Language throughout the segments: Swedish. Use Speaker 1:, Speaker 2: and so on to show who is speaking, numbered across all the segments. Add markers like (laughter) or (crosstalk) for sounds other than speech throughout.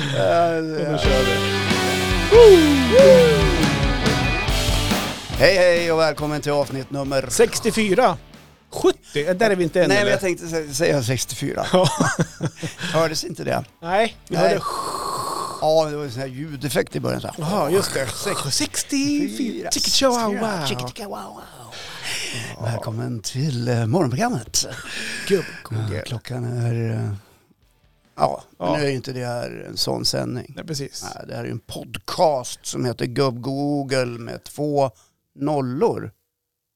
Speaker 1: Nu kör vi.
Speaker 2: Hej hej och välkommen till avsnitt nummer...
Speaker 1: 64. 70, där är vi inte än
Speaker 2: Nej
Speaker 1: eller?
Speaker 2: men jag tänkte sä- säga 64.
Speaker 1: Ja.
Speaker 2: (laughs) Hördes inte det?
Speaker 1: Nej, vi
Speaker 2: Nej.
Speaker 1: hörde
Speaker 2: Ja, det var en sån här ljudeffekt i början. Så här.
Speaker 1: Ja, just det. 64. Ticket show, wow, wow.
Speaker 2: Chicka, wow, wow. Välkommen till eh, morgonprogrammet.
Speaker 1: Gubb-Google.
Speaker 2: Eh, Klockan är... eh, Ja, men
Speaker 1: Ja.
Speaker 2: nu är ju inte det här en sån sändning.
Speaker 1: Nej, precis.
Speaker 2: Nej, det här är ju en podcast som heter Gubb Google med två nollor.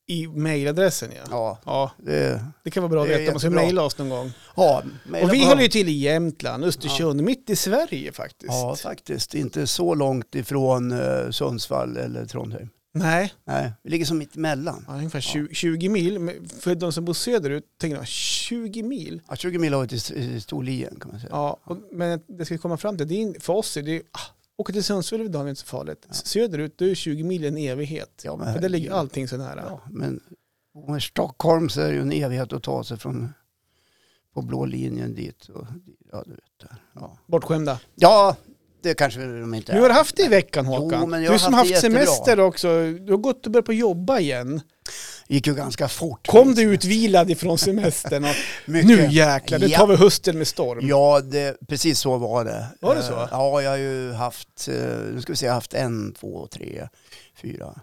Speaker 1: I mejladressen ja.
Speaker 2: Ja,
Speaker 1: Ja,
Speaker 2: det,
Speaker 1: det kan vara bra att
Speaker 2: Det är
Speaker 1: veta. Man ska
Speaker 2: jättebra.
Speaker 1: mejla oss någon gång.
Speaker 2: ja
Speaker 1: Och vi
Speaker 2: på-
Speaker 1: håller ju till i Jämtland, Östersund, mitt i Sverige faktiskt.
Speaker 2: Ja, faktiskt. Inte så långt ifrån eh, Sundsvall eller Trondheim.
Speaker 1: Nej,
Speaker 2: Nej, vi ligger som mitt emellan.
Speaker 1: ja, ungefär 20, 20 mil. Men För de som bor söderut tänker de 20 mil.
Speaker 2: Ja, 20 mil har vi till eh, Storlien kan man säga.
Speaker 1: Ja, och, men det ska vi komma fram till, det är, in- för oss är det ju, ah, åka till Sundsvall idag är inte så farligt. Söderut, då är 20 mil en evighet.
Speaker 2: Ja, men
Speaker 1: För där
Speaker 2: herregud.
Speaker 1: ligger allting så nära.
Speaker 2: Ja, men bor man i Stockholm så är det ju en evighet att ta sig från på blå linjen dit. Och, ja, du vet där. Ja.
Speaker 1: Bortskämda.
Speaker 2: ja, det kanske de inte
Speaker 1: Du har haft det i veckan
Speaker 2: Jo,
Speaker 1: Håkan.
Speaker 2: men jag har
Speaker 1: du som
Speaker 2: haft det
Speaker 1: haft
Speaker 2: jättebra.
Speaker 1: semester också. Du har gått och börjat på jobba igen.
Speaker 2: gick ju ganska fort.
Speaker 1: Kom du utvilad ifrån
Speaker 2: (laughs)
Speaker 1: semestern? Och,
Speaker 2: Mycket.
Speaker 1: nu jäklar, nu tar vi hösten med storm.
Speaker 2: Ja, det, precis så var det.
Speaker 1: Var det så?
Speaker 2: Eh, Ja, jag har ju haft, eh, nu ska vi se, jag har haft en, två, tre, fyra.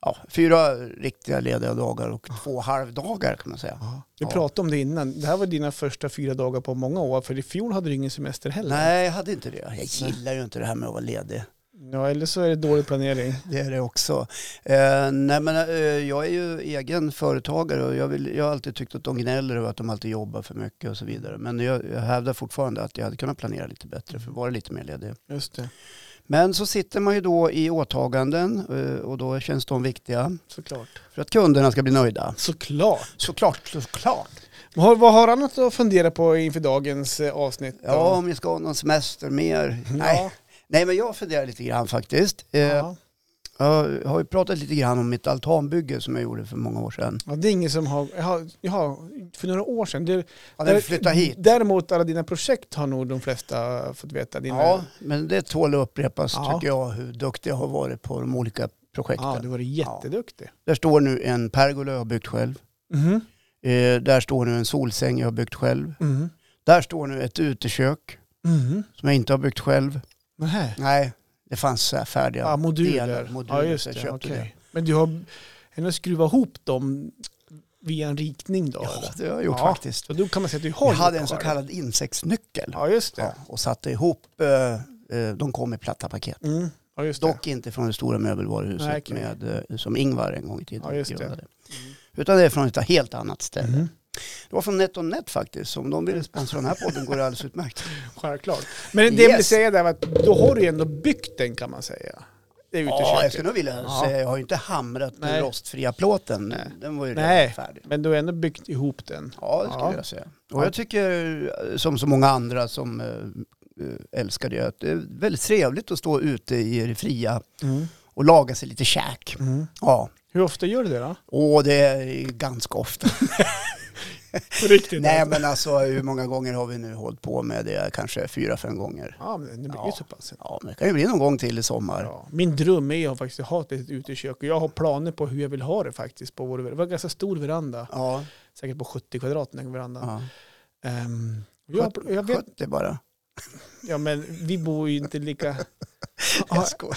Speaker 2: Ja, fyra riktiga lediga dagar och två halvdagar kan man säga.
Speaker 1: Vi
Speaker 2: Ja.
Speaker 1: pratade om det innan. Det här var dina första fyra dagar på många år. För i fjol hade du ingen semester heller.
Speaker 2: Nej, jag hade inte det. Jag gillar ju inte det här med att vara ledig.
Speaker 1: Ja, eller så är det dålig planering.
Speaker 2: Det är det också. Eh, nej, men eh, jag är ju egen företagare och jag, vill, jag har alltid tyckt att de gnäller över att de alltid jobbar för mycket och så vidare. Men jag, jag hävdar fortfarande att jag hade kunnat planera lite bättre för att vara lite mer ledig.
Speaker 1: Just det,
Speaker 2: Men så sitter man ju då i åtaganden eh, och då känns de viktiga
Speaker 1: såklart.
Speaker 2: för att kunderna ska bli nöjda.
Speaker 1: Såklart.
Speaker 2: Såklart, såklart.
Speaker 1: Vad har, vad har annat att fundera på inför dagens eh, avsnitt? då?
Speaker 2: Ja, om jag ska ha någon semester mer.
Speaker 1: Ja.
Speaker 2: Nej. Nej, men jag funderar lite grann faktiskt. Eh,
Speaker 1: Ja.
Speaker 2: Jag har ju pratat lite grann om mitt altanbygge som jag gjorde för många år sedan.
Speaker 1: Ja, det är ingen som har... Jaha, jaha för några år sedan. Det,
Speaker 2: Ja, när vi flyttade hit.
Speaker 1: Däremot alla dina projekt har nog de flesta fått veta. Dina,
Speaker 2: Ja, men det tål att upprepas
Speaker 1: Ja.
Speaker 2: tycker jag hur duktig jag har varit på de olika projekten.
Speaker 1: ja, du var jätteduktig.
Speaker 2: Där står nu en pergola jag har byggt själv.
Speaker 1: Mhm.
Speaker 2: Eh, där står nu en solsäng jag har byggt själv.
Speaker 1: Mhm.
Speaker 2: Där står nu ett utekök
Speaker 1: Mhm.
Speaker 2: som jag inte har byggt själv.
Speaker 1: Nähä.
Speaker 2: Nej, det fanns så här färdiga
Speaker 1: typ. Ja, moduler.
Speaker 2: delar, moduler.
Speaker 1: ja, just
Speaker 2: så jag
Speaker 1: det.
Speaker 2: köpte
Speaker 1: okej. Men du har ändå skruvat ihop dem via en ritning då?
Speaker 2: det. Ja,
Speaker 1: eller?
Speaker 2: det har jag gjort
Speaker 1: Ja.
Speaker 2: faktiskt.
Speaker 1: Så då kan man säga att du har
Speaker 2: Jag hade
Speaker 1: gjort
Speaker 2: en så
Speaker 1: det.
Speaker 2: kallad insektsnyckel
Speaker 1: Ja, just
Speaker 2: ja,
Speaker 1: det.
Speaker 2: och satte ihop, eh, eh, de kom i platta paket.
Speaker 1: Ja, mm. ja, just det.
Speaker 2: Dock inte från det stora möbelvaruhuset
Speaker 1: Nej, okej.
Speaker 2: med, eh, som Ingvar en gång i tiden
Speaker 1: Ja, just det.
Speaker 2: grundade. Utan det är från ett helt annat ställe.
Speaker 1: Mm.
Speaker 2: Det var från NetOnNet faktiskt, så om de vill sponsra den här podden går det alldeles
Speaker 1: (laughs)
Speaker 2: utmärkt.
Speaker 1: Självklart. Men det jag vill
Speaker 2: Yes.
Speaker 1: säga där var att då har du ju ändå byggt den kan man säga. Det är
Speaker 2: Ja, jag
Speaker 1: uteköket.
Speaker 2: skulle nog vilja
Speaker 1: Ja.
Speaker 2: säga, jag har ju inte hamrat den
Speaker 1: Nej.
Speaker 2: rostfria plåten.
Speaker 1: Nej.
Speaker 2: Den var ju redan
Speaker 1: Nej.
Speaker 2: färdig.
Speaker 1: Men du har ändå byggt ihop den.
Speaker 2: Ja, det skulle
Speaker 1: Ja.
Speaker 2: jag säga. Och jag tycker, eh, som så många andra som eh, eh, älskar det, att det är väldigt trevligt att stå ute i det fria
Speaker 1: Mm,
Speaker 2: och laga sig lite käk. Ja,
Speaker 1: Hur ofta gör du det då?
Speaker 2: och det är ganska
Speaker 1: (laughs)
Speaker 2: ofta.
Speaker 1: På riktigt?
Speaker 2: Nej,
Speaker 1: alltså.
Speaker 2: men alltså hur många gånger har vi nu hållit på med det? Kanske fyra, fem gånger.
Speaker 1: Ja, men det blir ju
Speaker 2: Ja.
Speaker 1: så pass.
Speaker 2: Ja, men det kan ju bli någon gång till i sommar.
Speaker 1: Ja. Min dröm är ju att faktiskt ha ett litet utekök och jag har planer på hur jag vill ha det faktiskt. På vår, det var en ganska stor veranda,
Speaker 2: Ja,
Speaker 1: säkert på 70 kvadrat den här verandan.
Speaker 2: ja.
Speaker 1: Ehm, jag, jag vet,
Speaker 2: 70 bara.
Speaker 1: ja, men vi bor ju inte lika...
Speaker 2: (laughs)
Speaker 1: Ja,
Speaker 2: Jag skojar.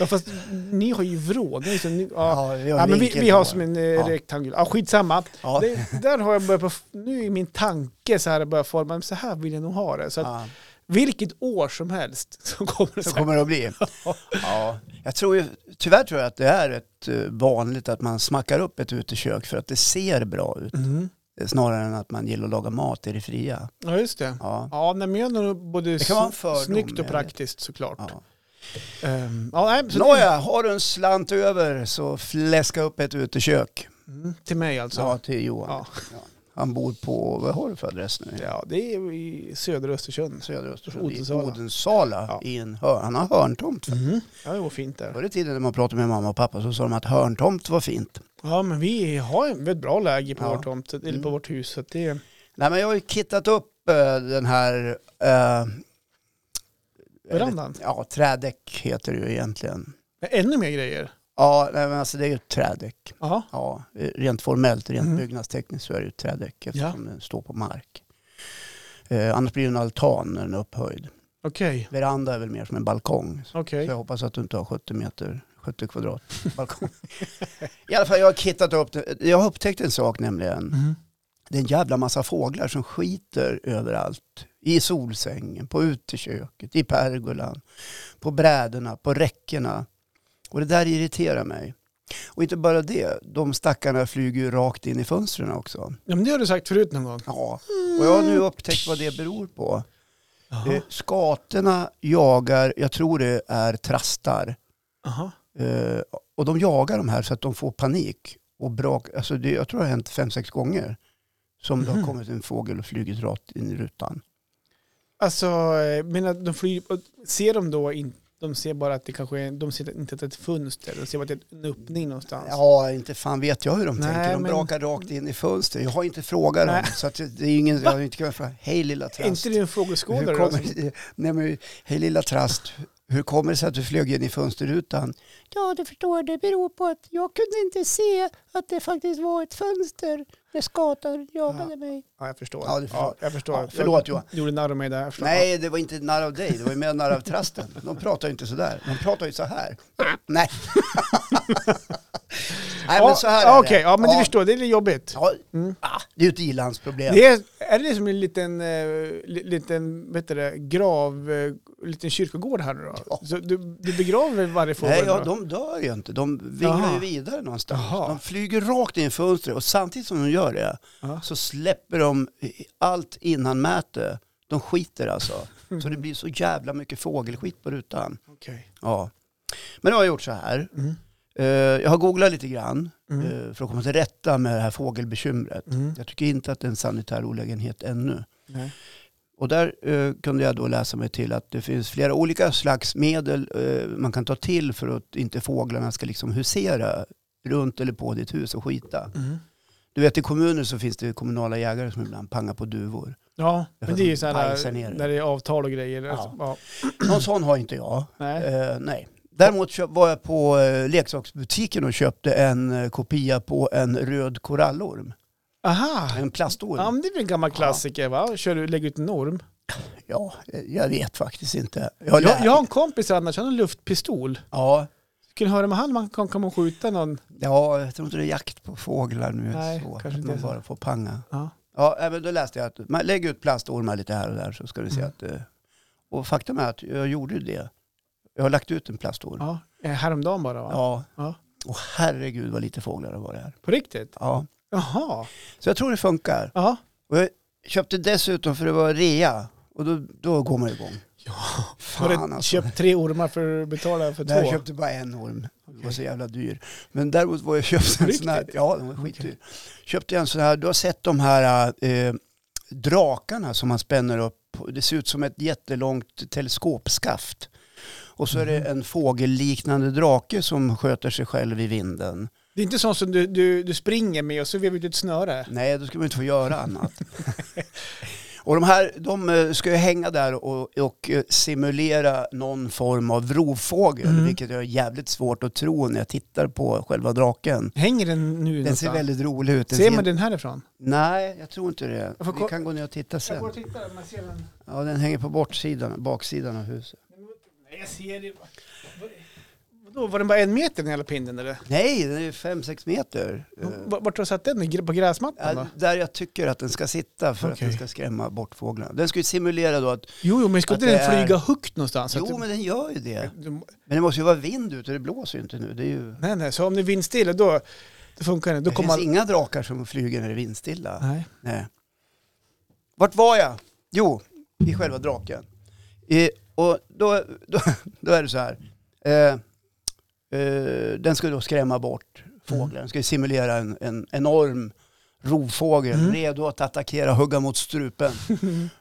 Speaker 1: ja, fast ni har ju vrå. ni har ju så- ni- Ja,
Speaker 2: vi
Speaker 1: ja,
Speaker 2: en
Speaker 1: men vi,
Speaker 2: vinkel
Speaker 1: vi har
Speaker 2: på
Speaker 1: som
Speaker 2: det.
Speaker 1: en eh,
Speaker 2: Ja.
Speaker 1: rektangul. Ja, skitsamma.
Speaker 2: Ja.
Speaker 1: Det, där har jag börjat på, nu är min tanke så här, jag börjar forma, men så här vill jag nog ha det. Så att
Speaker 2: Ja.
Speaker 1: vilket år som helst (laughs) så kommer det
Speaker 2: Så
Speaker 1: så här.
Speaker 2: kommer det att
Speaker 1: (laughs)
Speaker 2: bli. Ja. Jag tror ju, tyvärr tror jag att det är ett eh, vanligt att man smackar upp ett utekök för att det ser bra ut.
Speaker 1: Mhm.
Speaker 2: eh, Snarare än att man gillar att laga mat i det fria.
Speaker 1: Ja, just det.
Speaker 2: Ja.
Speaker 1: Ja, nej, men jag är nog både
Speaker 2: Det kan vara en
Speaker 1: sn-
Speaker 2: fördom,
Speaker 1: snyggt
Speaker 2: jag
Speaker 1: och
Speaker 2: vet.
Speaker 1: praktiskt såklart.
Speaker 2: Ja.
Speaker 1: Ehm, ja, nej, så det,
Speaker 2: Nåja, har du en slant över så fläska upp ett utekök.
Speaker 1: Mm, till mig alltså.
Speaker 2: Ja,
Speaker 1: Ja.
Speaker 2: till Johan.
Speaker 1: Ja.
Speaker 2: Han bor på, vad har du för adress nu?
Speaker 1: det är i södra Östersund.
Speaker 2: Södra Östersund, i
Speaker 1: Odensala.
Speaker 2: Odensala.
Speaker 1: Ja.
Speaker 2: I en hör, han har hörntomt.
Speaker 1: Mm. Ja, det var fint där.
Speaker 2: Förr i tiden när man pratade med mamma och pappa så sa de att hörntomt var fint.
Speaker 1: Ja, men vi har en- vi har ett bra läge på,
Speaker 2: Ja.
Speaker 1: vår tomt, eller på
Speaker 2: Mm.
Speaker 1: vårt hus. Så att det,
Speaker 2: Nej, men jag har ju kittat upp eh, den här eh,
Speaker 1: Verandan?
Speaker 2: Ja, trädäck heter det ju egentligen.
Speaker 1: Men Ännu mer grejer.
Speaker 2: Ja, nej, men alltså det är ju ett trädäck.
Speaker 1: Ja.
Speaker 2: Ja, eh, rent formellt, rent
Speaker 1: Mm.
Speaker 2: byggnadstekniskt så är det ju ett trädäck eftersom den står på mark. Eh, annars blir det en altan när den är upphöjd.
Speaker 1: Okej.
Speaker 2: Veranda är väl mer som en balkong. Så
Speaker 1: Okej.
Speaker 2: jag hoppas att du inte har 70 meter, 70
Speaker 1: (laughs)
Speaker 2: kvadrat balkong. I alla fall, jag har kittat upp det. Jag har upptäckt en sak nämligen.
Speaker 1: Mhm.
Speaker 2: Det är en jävla massa fåglar som skiter överallt. I solsängen, på uteköket, i pergolan, på brädorna, på räckena. Och det där irriterar mig. Och inte bara det, de stackarna flyger ju rakt in i fönstren också.
Speaker 1: Ja, men det har du sagt förut någon gång.
Speaker 2: Ja. Och jag har nu upptäckt vad det beror på. Eh,
Speaker 1: Jaha.
Speaker 2: Skatorna jagar, jag tror det är trastar.
Speaker 1: Jaha.
Speaker 2: Eh, och de jagar de här så att de får panik. Och brak, alltså det, jag tror det har hänt fem, sex gånger som det har
Speaker 1: Mhm.
Speaker 2: kommit en fågel och flugit rakt in i rutan.
Speaker 1: Alltså, eh, men att de flyger, och ser de då inte de ser bara att det kanske är, de ser inte att det är ett fönster, de ser bara att det är en öppning någonstans.
Speaker 2: Ja, inte fan vet jag hur de
Speaker 1: Alltså. Nej,
Speaker 2: tänker. De
Speaker 1: men-
Speaker 2: brakar rakt in i fönster. Jag har inte frågat dem.
Speaker 1: Nej.
Speaker 2: Så att det det är ingen, jag har inte kunnat fråga, hej lilla
Speaker 1: är
Speaker 2: trast.
Speaker 1: inte du alltså? en
Speaker 2: hur
Speaker 1: fågelskådare? då?
Speaker 2: kommer, det- (laughs) nej, men, hej lilla trast, hur kommer det sig att du flög in i fönsterrutan? Ja, du förstår, det beror på att jag kunde inte se att det faktiskt var ett fönster när skatan
Speaker 1: jagade
Speaker 2: mig.
Speaker 1: Ja, jag förstår.
Speaker 2: Ja, du förstår.
Speaker 1: jag förstår.
Speaker 2: Ja, förlåt, Johan.
Speaker 1: Jag gjorde narr av mig där. (laughs) Jag förstår.
Speaker 2: Nej, det var inte narr av dig, det var ju mer narr av trasten. De pratar ju inte sådär, de pratar ju så här. Nej. (laughs) Nej, men så här
Speaker 1: ja,
Speaker 2: är
Speaker 1: Okej,
Speaker 2: det.
Speaker 1: ja, men du förstår, det är lite jobbigt.
Speaker 2: Ja,
Speaker 1: Mm.
Speaker 2: ah, det är ju ett i-landsproblem.
Speaker 1: Det är, är det som en liten, eh, li- liten vet du det, grav, eh, liten kyrkogård här nu då?
Speaker 2: Ja.
Speaker 1: Så du, du begraver varje fågel?
Speaker 2: Nej, ja,
Speaker 1: då?
Speaker 2: de dör ju inte. De vinglar ju
Speaker 1: Jaha.
Speaker 2: vidare någonstans.
Speaker 1: Jaha.
Speaker 2: De flyger rakt in i fönstret och samtidigt som de gör det
Speaker 1: Ja.
Speaker 2: så släpper de allt innan mäte. De skiter alltså. Så det blir så jävla mycket fågelskit på rutan.
Speaker 1: Okej.
Speaker 2: Ja. Men då har jag gjort så här.
Speaker 1: Mm.
Speaker 2: Eh, Jag har googlat lite grann
Speaker 1: Mm.
Speaker 2: eh, för att komma till rätta med det här fågelbekymret.
Speaker 1: Mm.
Speaker 2: Jag tycker inte att det är en sanitär olägenhet ännu.
Speaker 1: Nej.
Speaker 2: Och där eh, kunde jag då läsa mig till att det finns flera olika slags medel eh, man kan ta till för att inte fåglarna ska liksom husera runt eller på ditt hus och skita.
Speaker 1: Mm.
Speaker 2: Du vet i kommuner så finns det kommunala jägare som ibland pangar på duvor.
Speaker 1: Ja, men det är ju så
Speaker 2: Bajsar
Speaker 1: här
Speaker 2: ner.
Speaker 1: när det är avtal och grejer. alltså, Ja.
Speaker 2: Någon sån har inte jag.
Speaker 1: Nej.
Speaker 2: Eh, nej. Däremot köp, var jag på eh, leksaksbutiken och köpte en eh, kopia på en röd korallorm.
Speaker 1: Aha!
Speaker 2: En plastorm.
Speaker 1: Ja, men det är väl en gammal klassiker va? Kör du, lägger ut en orm.
Speaker 2: Ja, eh, jag vet faktiskt inte. Jag,
Speaker 1: Jag,
Speaker 2: lär-
Speaker 1: jag har en kompis annars, han har en luftpistol.
Speaker 2: Ja,
Speaker 1: Skulle höra med han, man kan komma och skjuta någon.
Speaker 2: ja, jag tror inte det är jakt på fåglar nu.
Speaker 1: Nej,
Speaker 2: så,
Speaker 1: kanske
Speaker 2: att
Speaker 1: inte
Speaker 2: man
Speaker 1: är så.
Speaker 2: bara får panga.
Speaker 1: Ja.
Speaker 2: Ja, eh, men då läste jag att man lägger ut plastormar lite här och där så ska du se
Speaker 1: Mm.
Speaker 2: att... eh, Och faktum är att jag gjorde det. Jag har lagt ut en plastorm.
Speaker 1: Ja, eh, häromdagen bara va?
Speaker 2: Ja.
Speaker 1: Ja.
Speaker 2: Och herregud vad lite fåglar det var det här.
Speaker 1: På riktigt?
Speaker 2: Ja.
Speaker 1: Jaha.
Speaker 2: Så jag tror det funkar.
Speaker 1: Ja.
Speaker 2: Och jag köpte dessutom för det var rea. Och då, då går man igång.
Speaker 1: Ja. Har
Speaker 2: Fan
Speaker 1: du
Speaker 2: alltså.
Speaker 1: köpt tre ormar för att betala för två?
Speaker 2: Nej, jag köpte bara en orm. Det var så jävla dyr. Men däremot var jag köpte en
Speaker 1: Riktigt?
Speaker 2: sån här. Ja, den var skitdyr. Köpte jag en sån här. Du har sett de här eh, drakarna som man spänner upp. Det ser ut som ett jättelångt teleskopskaft. Och så
Speaker 1: Mm.
Speaker 2: är det en fågelliknande drake som sköter sig själv i vinden.
Speaker 1: Det är inte sånt som du, du, du springer med och så vevar du ut ett snöre?
Speaker 2: Nej, då ska man inte få göra annat. (laughs) och de här, de eh, ska ju hänga där och, och eh, simulera någon form av rovfågel,
Speaker 1: Mm.
Speaker 2: vilket jag är jävligt svårt att tro när jag tittar på själva draken.
Speaker 1: Hänger den nu
Speaker 2: Den ser
Speaker 1: någonstans?
Speaker 2: väldigt rolig ut.
Speaker 1: Ser
Speaker 2: ser-
Speaker 1: man den härifrån?
Speaker 2: Nej, jag tror inte det.
Speaker 1: Jag får
Speaker 2: Vi
Speaker 1: ko-
Speaker 2: kan gå ner och titta sen.
Speaker 1: tittar, man ser den.
Speaker 2: Ja, den hänger på bortsidan, baksidan av huset.
Speaker 1: Nej, jag ser det. Vadå, var den bara en meter den hela pinnen eller?
Speaker 2: Nej, den är ju fem, sex meter. Eh,
Speaker 1: Vart har du satt den? I gr- På gräsmattan
Speaker 2: ja,
Speaker 1: då?
Speaker 2: Där jag tycker att den ska sitta för att
Speaker 1: Okej.
Speaker 2: den ska skrämma bort fåglarna. Den ska ju simulera då att,
Speaker 1: Jo, jo, men ska
Speaker 2: Att
Speaker 1: inte
Speaker 2: det
Speaker 1: den
Speaker 2: är-
Speaker 1: flyga högt någonstans? Så att
Speaker 2: jo
Speaker 1: du-
Speaker 2: men den gör ju det.
Speaker 1: du-
Speaker 2: Men det måste ju vara vind ute, det blåser ju inte nu. Det, är ju,
Speaker 1: Nej, nej, så om det är vindstilla då, då funkar den. Då
Speaker 2: det
Speaker 1: kommer
Speaker 2: finns
Speaker 1: man...
Speaker 2: inga drakar som flyger när det är vindstilla.
Speaker 1: Nej.
Speaker 2: Nej. Vart var jag? Jo, i själva draken. Eh, och då, då, då är det så här. Eh, eh, den ska då skrämma bort
Speaker 1: Mm.
Speaker 2: fåglar. Den ska ju simulera en, en enorm rovfågel,
Speaker 1: Mm.
Speaker 2: redo att attackera, hugga mot
Speaker 1: (laughs)
Speaker 2: strupen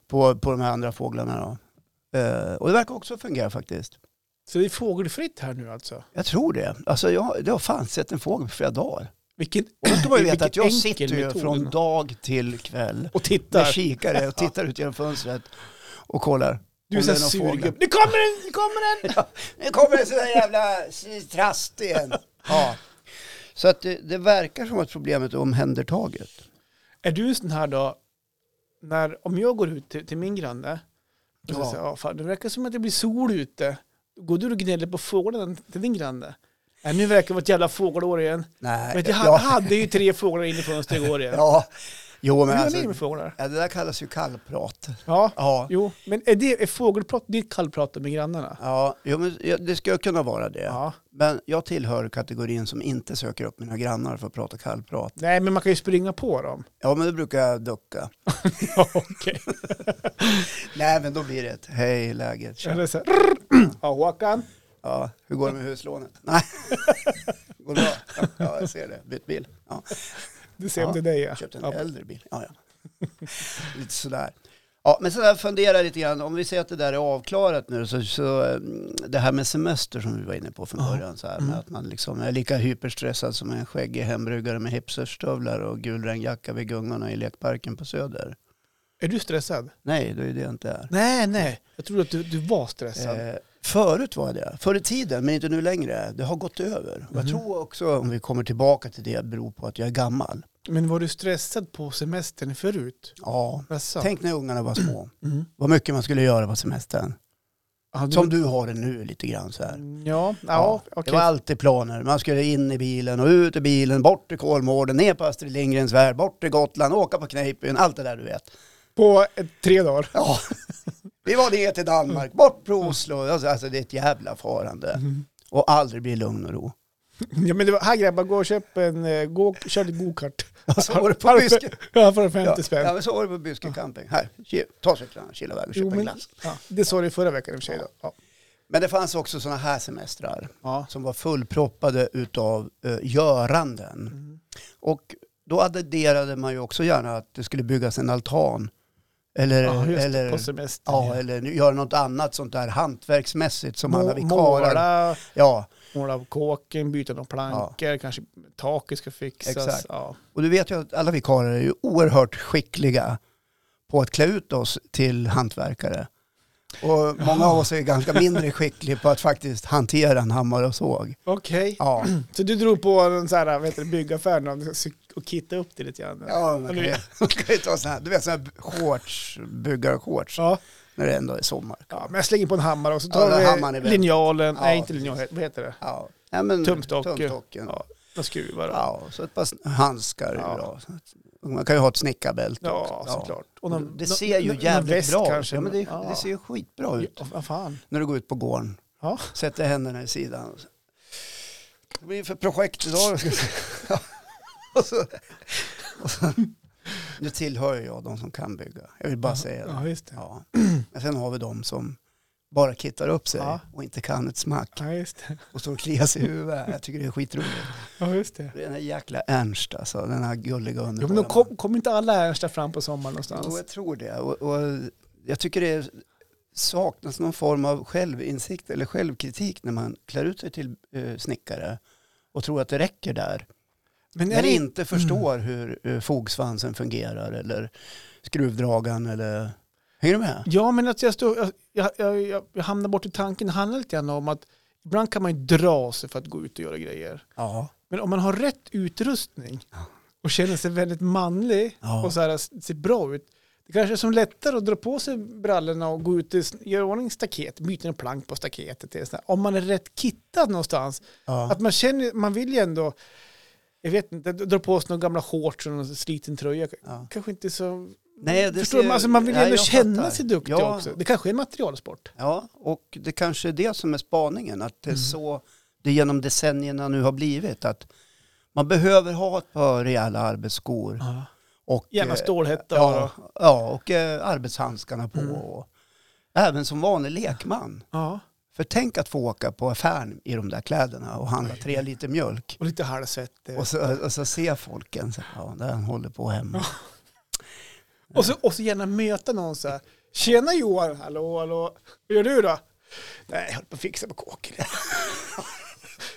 Speaker 2: på, på de här andra fåglarna. Då. Eh, och det verkar också fungera faktiskt.
Speaker 1: Så det är fågelfritt här nu alltså?
Speaker 2: Jag tror det. Alltså jag, jag har fan sett en fågel på flera dagar.
Speaker 1: Vilken,
Speaker 2: Och då ska man ju
Speaker 1: vilken
Speaker 2: veta att jag
Speaker 1: enkel
Speaker 2: sitter ju
Speaker 1: metod.
Speaker 2: från dag till kväll
Speaker 1: och
Speaker 2: med
Speaker 1: tittar.
Speaker 2: kikare och tittar ut genom fönstret och kollar.
Speaker 1: Du är
Speaker 2: Om
Speaker 1: så
Speaker 2: det är någon fågel.
Speaker 1: surgubbe. Nu kommer den! Nu
Speaker 2: (laughs)
Speaker 1: kommer den!
Speaker 2: Nu kommer en sån där jävla trast igen. Ja. Så att det, det verkar som att problemet är omhändertaget.
Speaker 1: Är du sån här då, när, om jag går ut till, till min granne, och så
Speaker 2: Ja.
Speaker 1: säger, ja, fan, det verkar som att det blir sol ute. Går du och gnäller på fåglarna till din granne? Nej, nu verkar det vara ett jävla fågelår igen.
Speaker 2: Nej,
Speaker 1: Vet du, jag
Speaker 2: ja,
Speaker 1: hade ju tre fåglar inne i fönstret igår igen.
Speaker 2: (laughs) ja. Jo,
Speaker 1: Hur
Speaker 2: men
Speaker 1: gör
Speaker 2: alltså,
Speaker 1: ni med fåglar?
Speaker 2: ja, det där kallas ju kallprat.
Speaker 1: Ja,
Speaker 2: Ja.
Speaker 1: jo. Men är, det, är fågelprat ditt kallprat med grannarna?
Speaker 2: Ja, jo, men ja, det ska kunna vara det.
Speaker 1: Ja.
Speaker 2: Men jag tillhör kategorin som inte söker upp mina grannar för att prata kallprat.
Speaker 1: Nej, men man kan ju springa
Speaker 2: (laughs)
Speaker 1: på dem.
Speaker 2: Ja, men då brukar jag ducka.
Speaker 1: Ja, (laughs) Okej.
Speaker 2: Nej, men då blir det ett hej, läget, tja.
Speaker 1: Eller så här, (clears throat) Ja, Håkan.
Speaker 2: Ja, hur går det med huslånet?
Speaker 1: (laughs)
Speaker 2: Nej, går det bra? Ja, jag ser det. Bytt bil. Ja.
Speaker 1: Du ser om
Speaker 2: Ja,
Speaker 1: det är dig, ja.
Speaker 2: Köpt en
Speaker 1: ja.
Speaker 2: äldre bil. Ja, ja. lite sådär. Ja, men sådär fundera lite grann. Om vi säger att det där är avklarat nu så, så eh, det här med semester som vi var inne på från
Speaker 1: Ja.
Speaker 2: början. Så här,
Speaker 1: Mm.
Speaker 2: med att man liksom är lika hyperstressad som en skäggig hembryggare med hipsterstövlar och gul regnjacka vid gungorna i lekparken på Söder.
Speaker 1: Är du stressad?
Speaker 2: Nej, det är ju det jag inte är.
Speaker 1: Nej, nej. Jag trodde att du, du var stressad.
Speaker 2: Eh, förut var jag det. Förr i tiden, men inte nu längre. Det har gått över. Och jag
Speaker 1: Mhm.
Speaker 2: tror också, om vi kommer tillbaka till det, beror på att jag är gammal.
Speaker 1: Men var du stressad på semestern förut?
Speaker 2: Ja.
Speaker 1: Jaså?
Speaker 2: Tänk när ungarna var små.
Speaker 1: Mm.
Speaker 2: Vad mycket man skulle göra på semestern.
Speaker 1: Ja,
Speaker 2: Som du har det nu lite grann så här.
Speaker 1: Ja, ja, okej.
Speaker 2: Det var alltid planer. Man skulle in i bilen och ut i bilen, bort till Kolmården, ner på Astrid Lindgrens värld, bort till Gotland, åka på Kneippbyn, allt det där du vet.
Speaker 1: På eh, tre dagar. (laughs)
Speaker 2: Ja. (laughs) Vi var ner till Danmark,
Speaker 1: Mm.
Speaker 2: bort på Oslo. Alltså, alltså det är ett jävla farande. Och aldrig bli lugn och ro.
Speaker 1: Ja, men det var, här grabbar, gå och köp en, eh, gå och kör lite gokart. (laughs)
Speaker 2: Och så var det Alltså, på
Speaker 1: Här-
Speaker 2: Byske.
Speaker 1: Ja, för 50 spänn.
Speaker 2: Ja, men så var det på Byske camping. Här, ki- ta cyklarna, kila iväg och
Speaker 1: Jo,
Speaker 2: köpa en
Speaker 1: men,
Speaker 2: glass.
Speaker 1: ja, det sa du förra veckan i och för sig. Då. Ja.
Speaker 2: Men det fanns också sådana här semestrar.
Speaker 1: Ja.
Speaker 2: som var fullproppade utav eh, göranden.
Speaker 1: Mm.
Speaker 2: Och då adderade man ju också gärna att det skulle byggas en altan. Eller,
Speaker 1: Ja, just det, på
Speaker 2: eller,
Speaker 1: semestern.
Speaker 2: ja, eller nu- göra något annat sånt där hantverksmässigt som alla
Speaker 1: Må-
Speaker 2: vi karlar.
Speaker 1: måla,
Speaker 2: Ja,
Speaker 1: måla av kåken, byta några plankor, kanske taket ska fixas.
Speaker 2: Exakt.
Speaker 1: Ja.
Speaker 2: och du vet ju att alla vi karlar är ju oerhört skickliga på att klä ut oss till hantverkare. Och många av oss är ganska mindre skickliga på att faktiskt hantera en hammare och såg.
Speaker 1: Okej,
Speaker 2: Ja,
Speaker 1: så du drog på en så här, vet du, byggaffär någon och kittade upp det lite grann?
Speaker 2: ja man kan ju-
Speaker 1: Eller-
Speaker 2: (laughs) man kan ju ta sådana här, du vet sådana här shorts, byggarshorts.
Speaker 1: ja.
Speaker 2: när det ändå är sommar.
Speaker 1: Ja, men jag slänger på en hammare och så
Speaker 2: Ja,
Speaker 1: tar
Speaker 2: den här hammaren är
Speaker 1: vi
Speaker 2: väl-
Speaker 1: linjalen,
Speaker 2: Ja.
Speaker 1: nej inte linjal, vad heter det?
Speaker 2: Ja. Ja, men,
Speaker 1: Tumstock.
Speaker 2: Tumstocken. Ja.
Speaker 1: Ja, några skruvar. Ja,
Speaker 2: ja, så ett par handskar är
Speaker 1: Ja.
Speaker 2: bra. Så att- och Man kan ju ha ett snickarbälte
Speaker 1: ja
Speaker 2: också.
Speaker 1: såklart.
Speaker 2: Ja.
Speaker 1: Och någon-
Speaker 2: Det
Speaker 1: nå-
Speaker 2: ser ju
Speaker 1: nå- någon
Speaker 2: jävligt
Speaker 1: väst
Speaker 2: bra ut.
Speaker 1: kanske.
Speaker 2: Ja, men det,
Speaker 1: Ja.
Speaker 2: det ser ju skitbra ut.
Speaker 1: Ja, vad fan.
Speaker 2: När du går ut på gården,
Speaker 1: Ja.
Speaker 2: sätter händerna i sidan. och så- Vad blir det för projekt
Speaker 1: (laughs)
Speaker 2: idag? Ja. och så, och så, nu tillhör ju jag de som kan bygga. Jag vill bara säga det.
Speaker 1: Ja, just det.
Speaker 2: Ja. Men sen har vi de som bara kittar upp sig
Speaker 1: Ja.
Speaker 2: och inte kan ett smack.
Speaker 1: Ja, just det.
Speaker 2: och står och kliar sig i huvudet. Jag tycker det är skitroligt.
Speaker 1: Ja, just det.
Speaker 2: Den här jäkla Ernst alltså, den här gulliga
Speaker 1: Jo,
Speaker 2: underbara.
Speaker 1: men de kom, kom inte alla Ernsta fram på sommaren någonstans?
Speaker 2: Jo, jag tror det. Och, och jag tycker det är, saknas någon form av självinsikt eller självkritik när man klär ut sig till eh, snickare och tror att det räcker där.
Speaker 1: Men är
Speaker 2: Men
Speaker 1: det inte...
Speaker 2: inte förstår hur eh, fogsvansen fungerar eller skruvdragaren eller... Hänger du med?
Speaker 1: Ja, men att jag, står, jag, jag, jag, jag, jag hamnar bort i tanken, det handlar lite grann om att ibland kan man ju dra sig för att gå ut och göra grejer.
Speaker 2: Ja.
Speaker 1: Men om man har rätt utrustning
Speaker 2: Ja.
Speaker 1: och känner sig väldigt manlig
Speaker 2: Ja.
Speaker 1: och så här, ser bra ut. Det kanske är som lättare att dra på sig brallorna och gå ut och s- göra i ordning staket, byta en plank på staketet. eller så här. Om man är rätt kittad någonstans.
Speaker 2: ja.
Speaker 1: Att man känner, man vill ju ändå, jag vet inte, dra på sig några gamla shorts och någon sliten tröja.
Speaker 2: ja.
Speaker 1: Kanske inte så...
Speaker 2: Nej, det
Speaker 1: Förstår du?
Speaker 2: ser-
Speaker 1: Alltså man vill ju
Speaker 2: Nej,
Speaker 1: ändå
Speaker 2: jag
Speaker 1: känna
Speaker 2: fattar.
Speaker 1: sig duktig
Speaker 2: Ja,
Speaker 1: också. Det kanske är en materialsport.
Speaker 2: Ja, och det kanske är det som är spaningen, att det är
Speaker 1: Mm.
Speaker 2: så det genom decennierna nu har blivit, att man behöver ha ett par rejäla arbetsskor. Och,
Speaker 1: Gärna
Speaker 2: eh,
Speaker 1: stålhätta
Speaker 2: Ja,
Speaker 1: och...
Speaker 2: ja, och eh, arbetshandskarna på.
Speaker 1: Mm.
Speaker 2: Och, även som vanlig lekman.
Speaker 1: Ja.
Speaker 2: För tänk att få åka på affären i de där kläderna och handla
Speaker 1: Oj.
Speaker 2: tre liter mjölk.
Speaker 1: Och lite eh. halvsvettig.
Speaker 2: Och så, och så se folken, så, ja, där han håller på hemma.
Speaker 1: Och så, och så gärna möta någon så här. Tjena Johan, hallå, hallå. Hur gör du då? Nej, jag höll på att fixa på kåken. (laughs)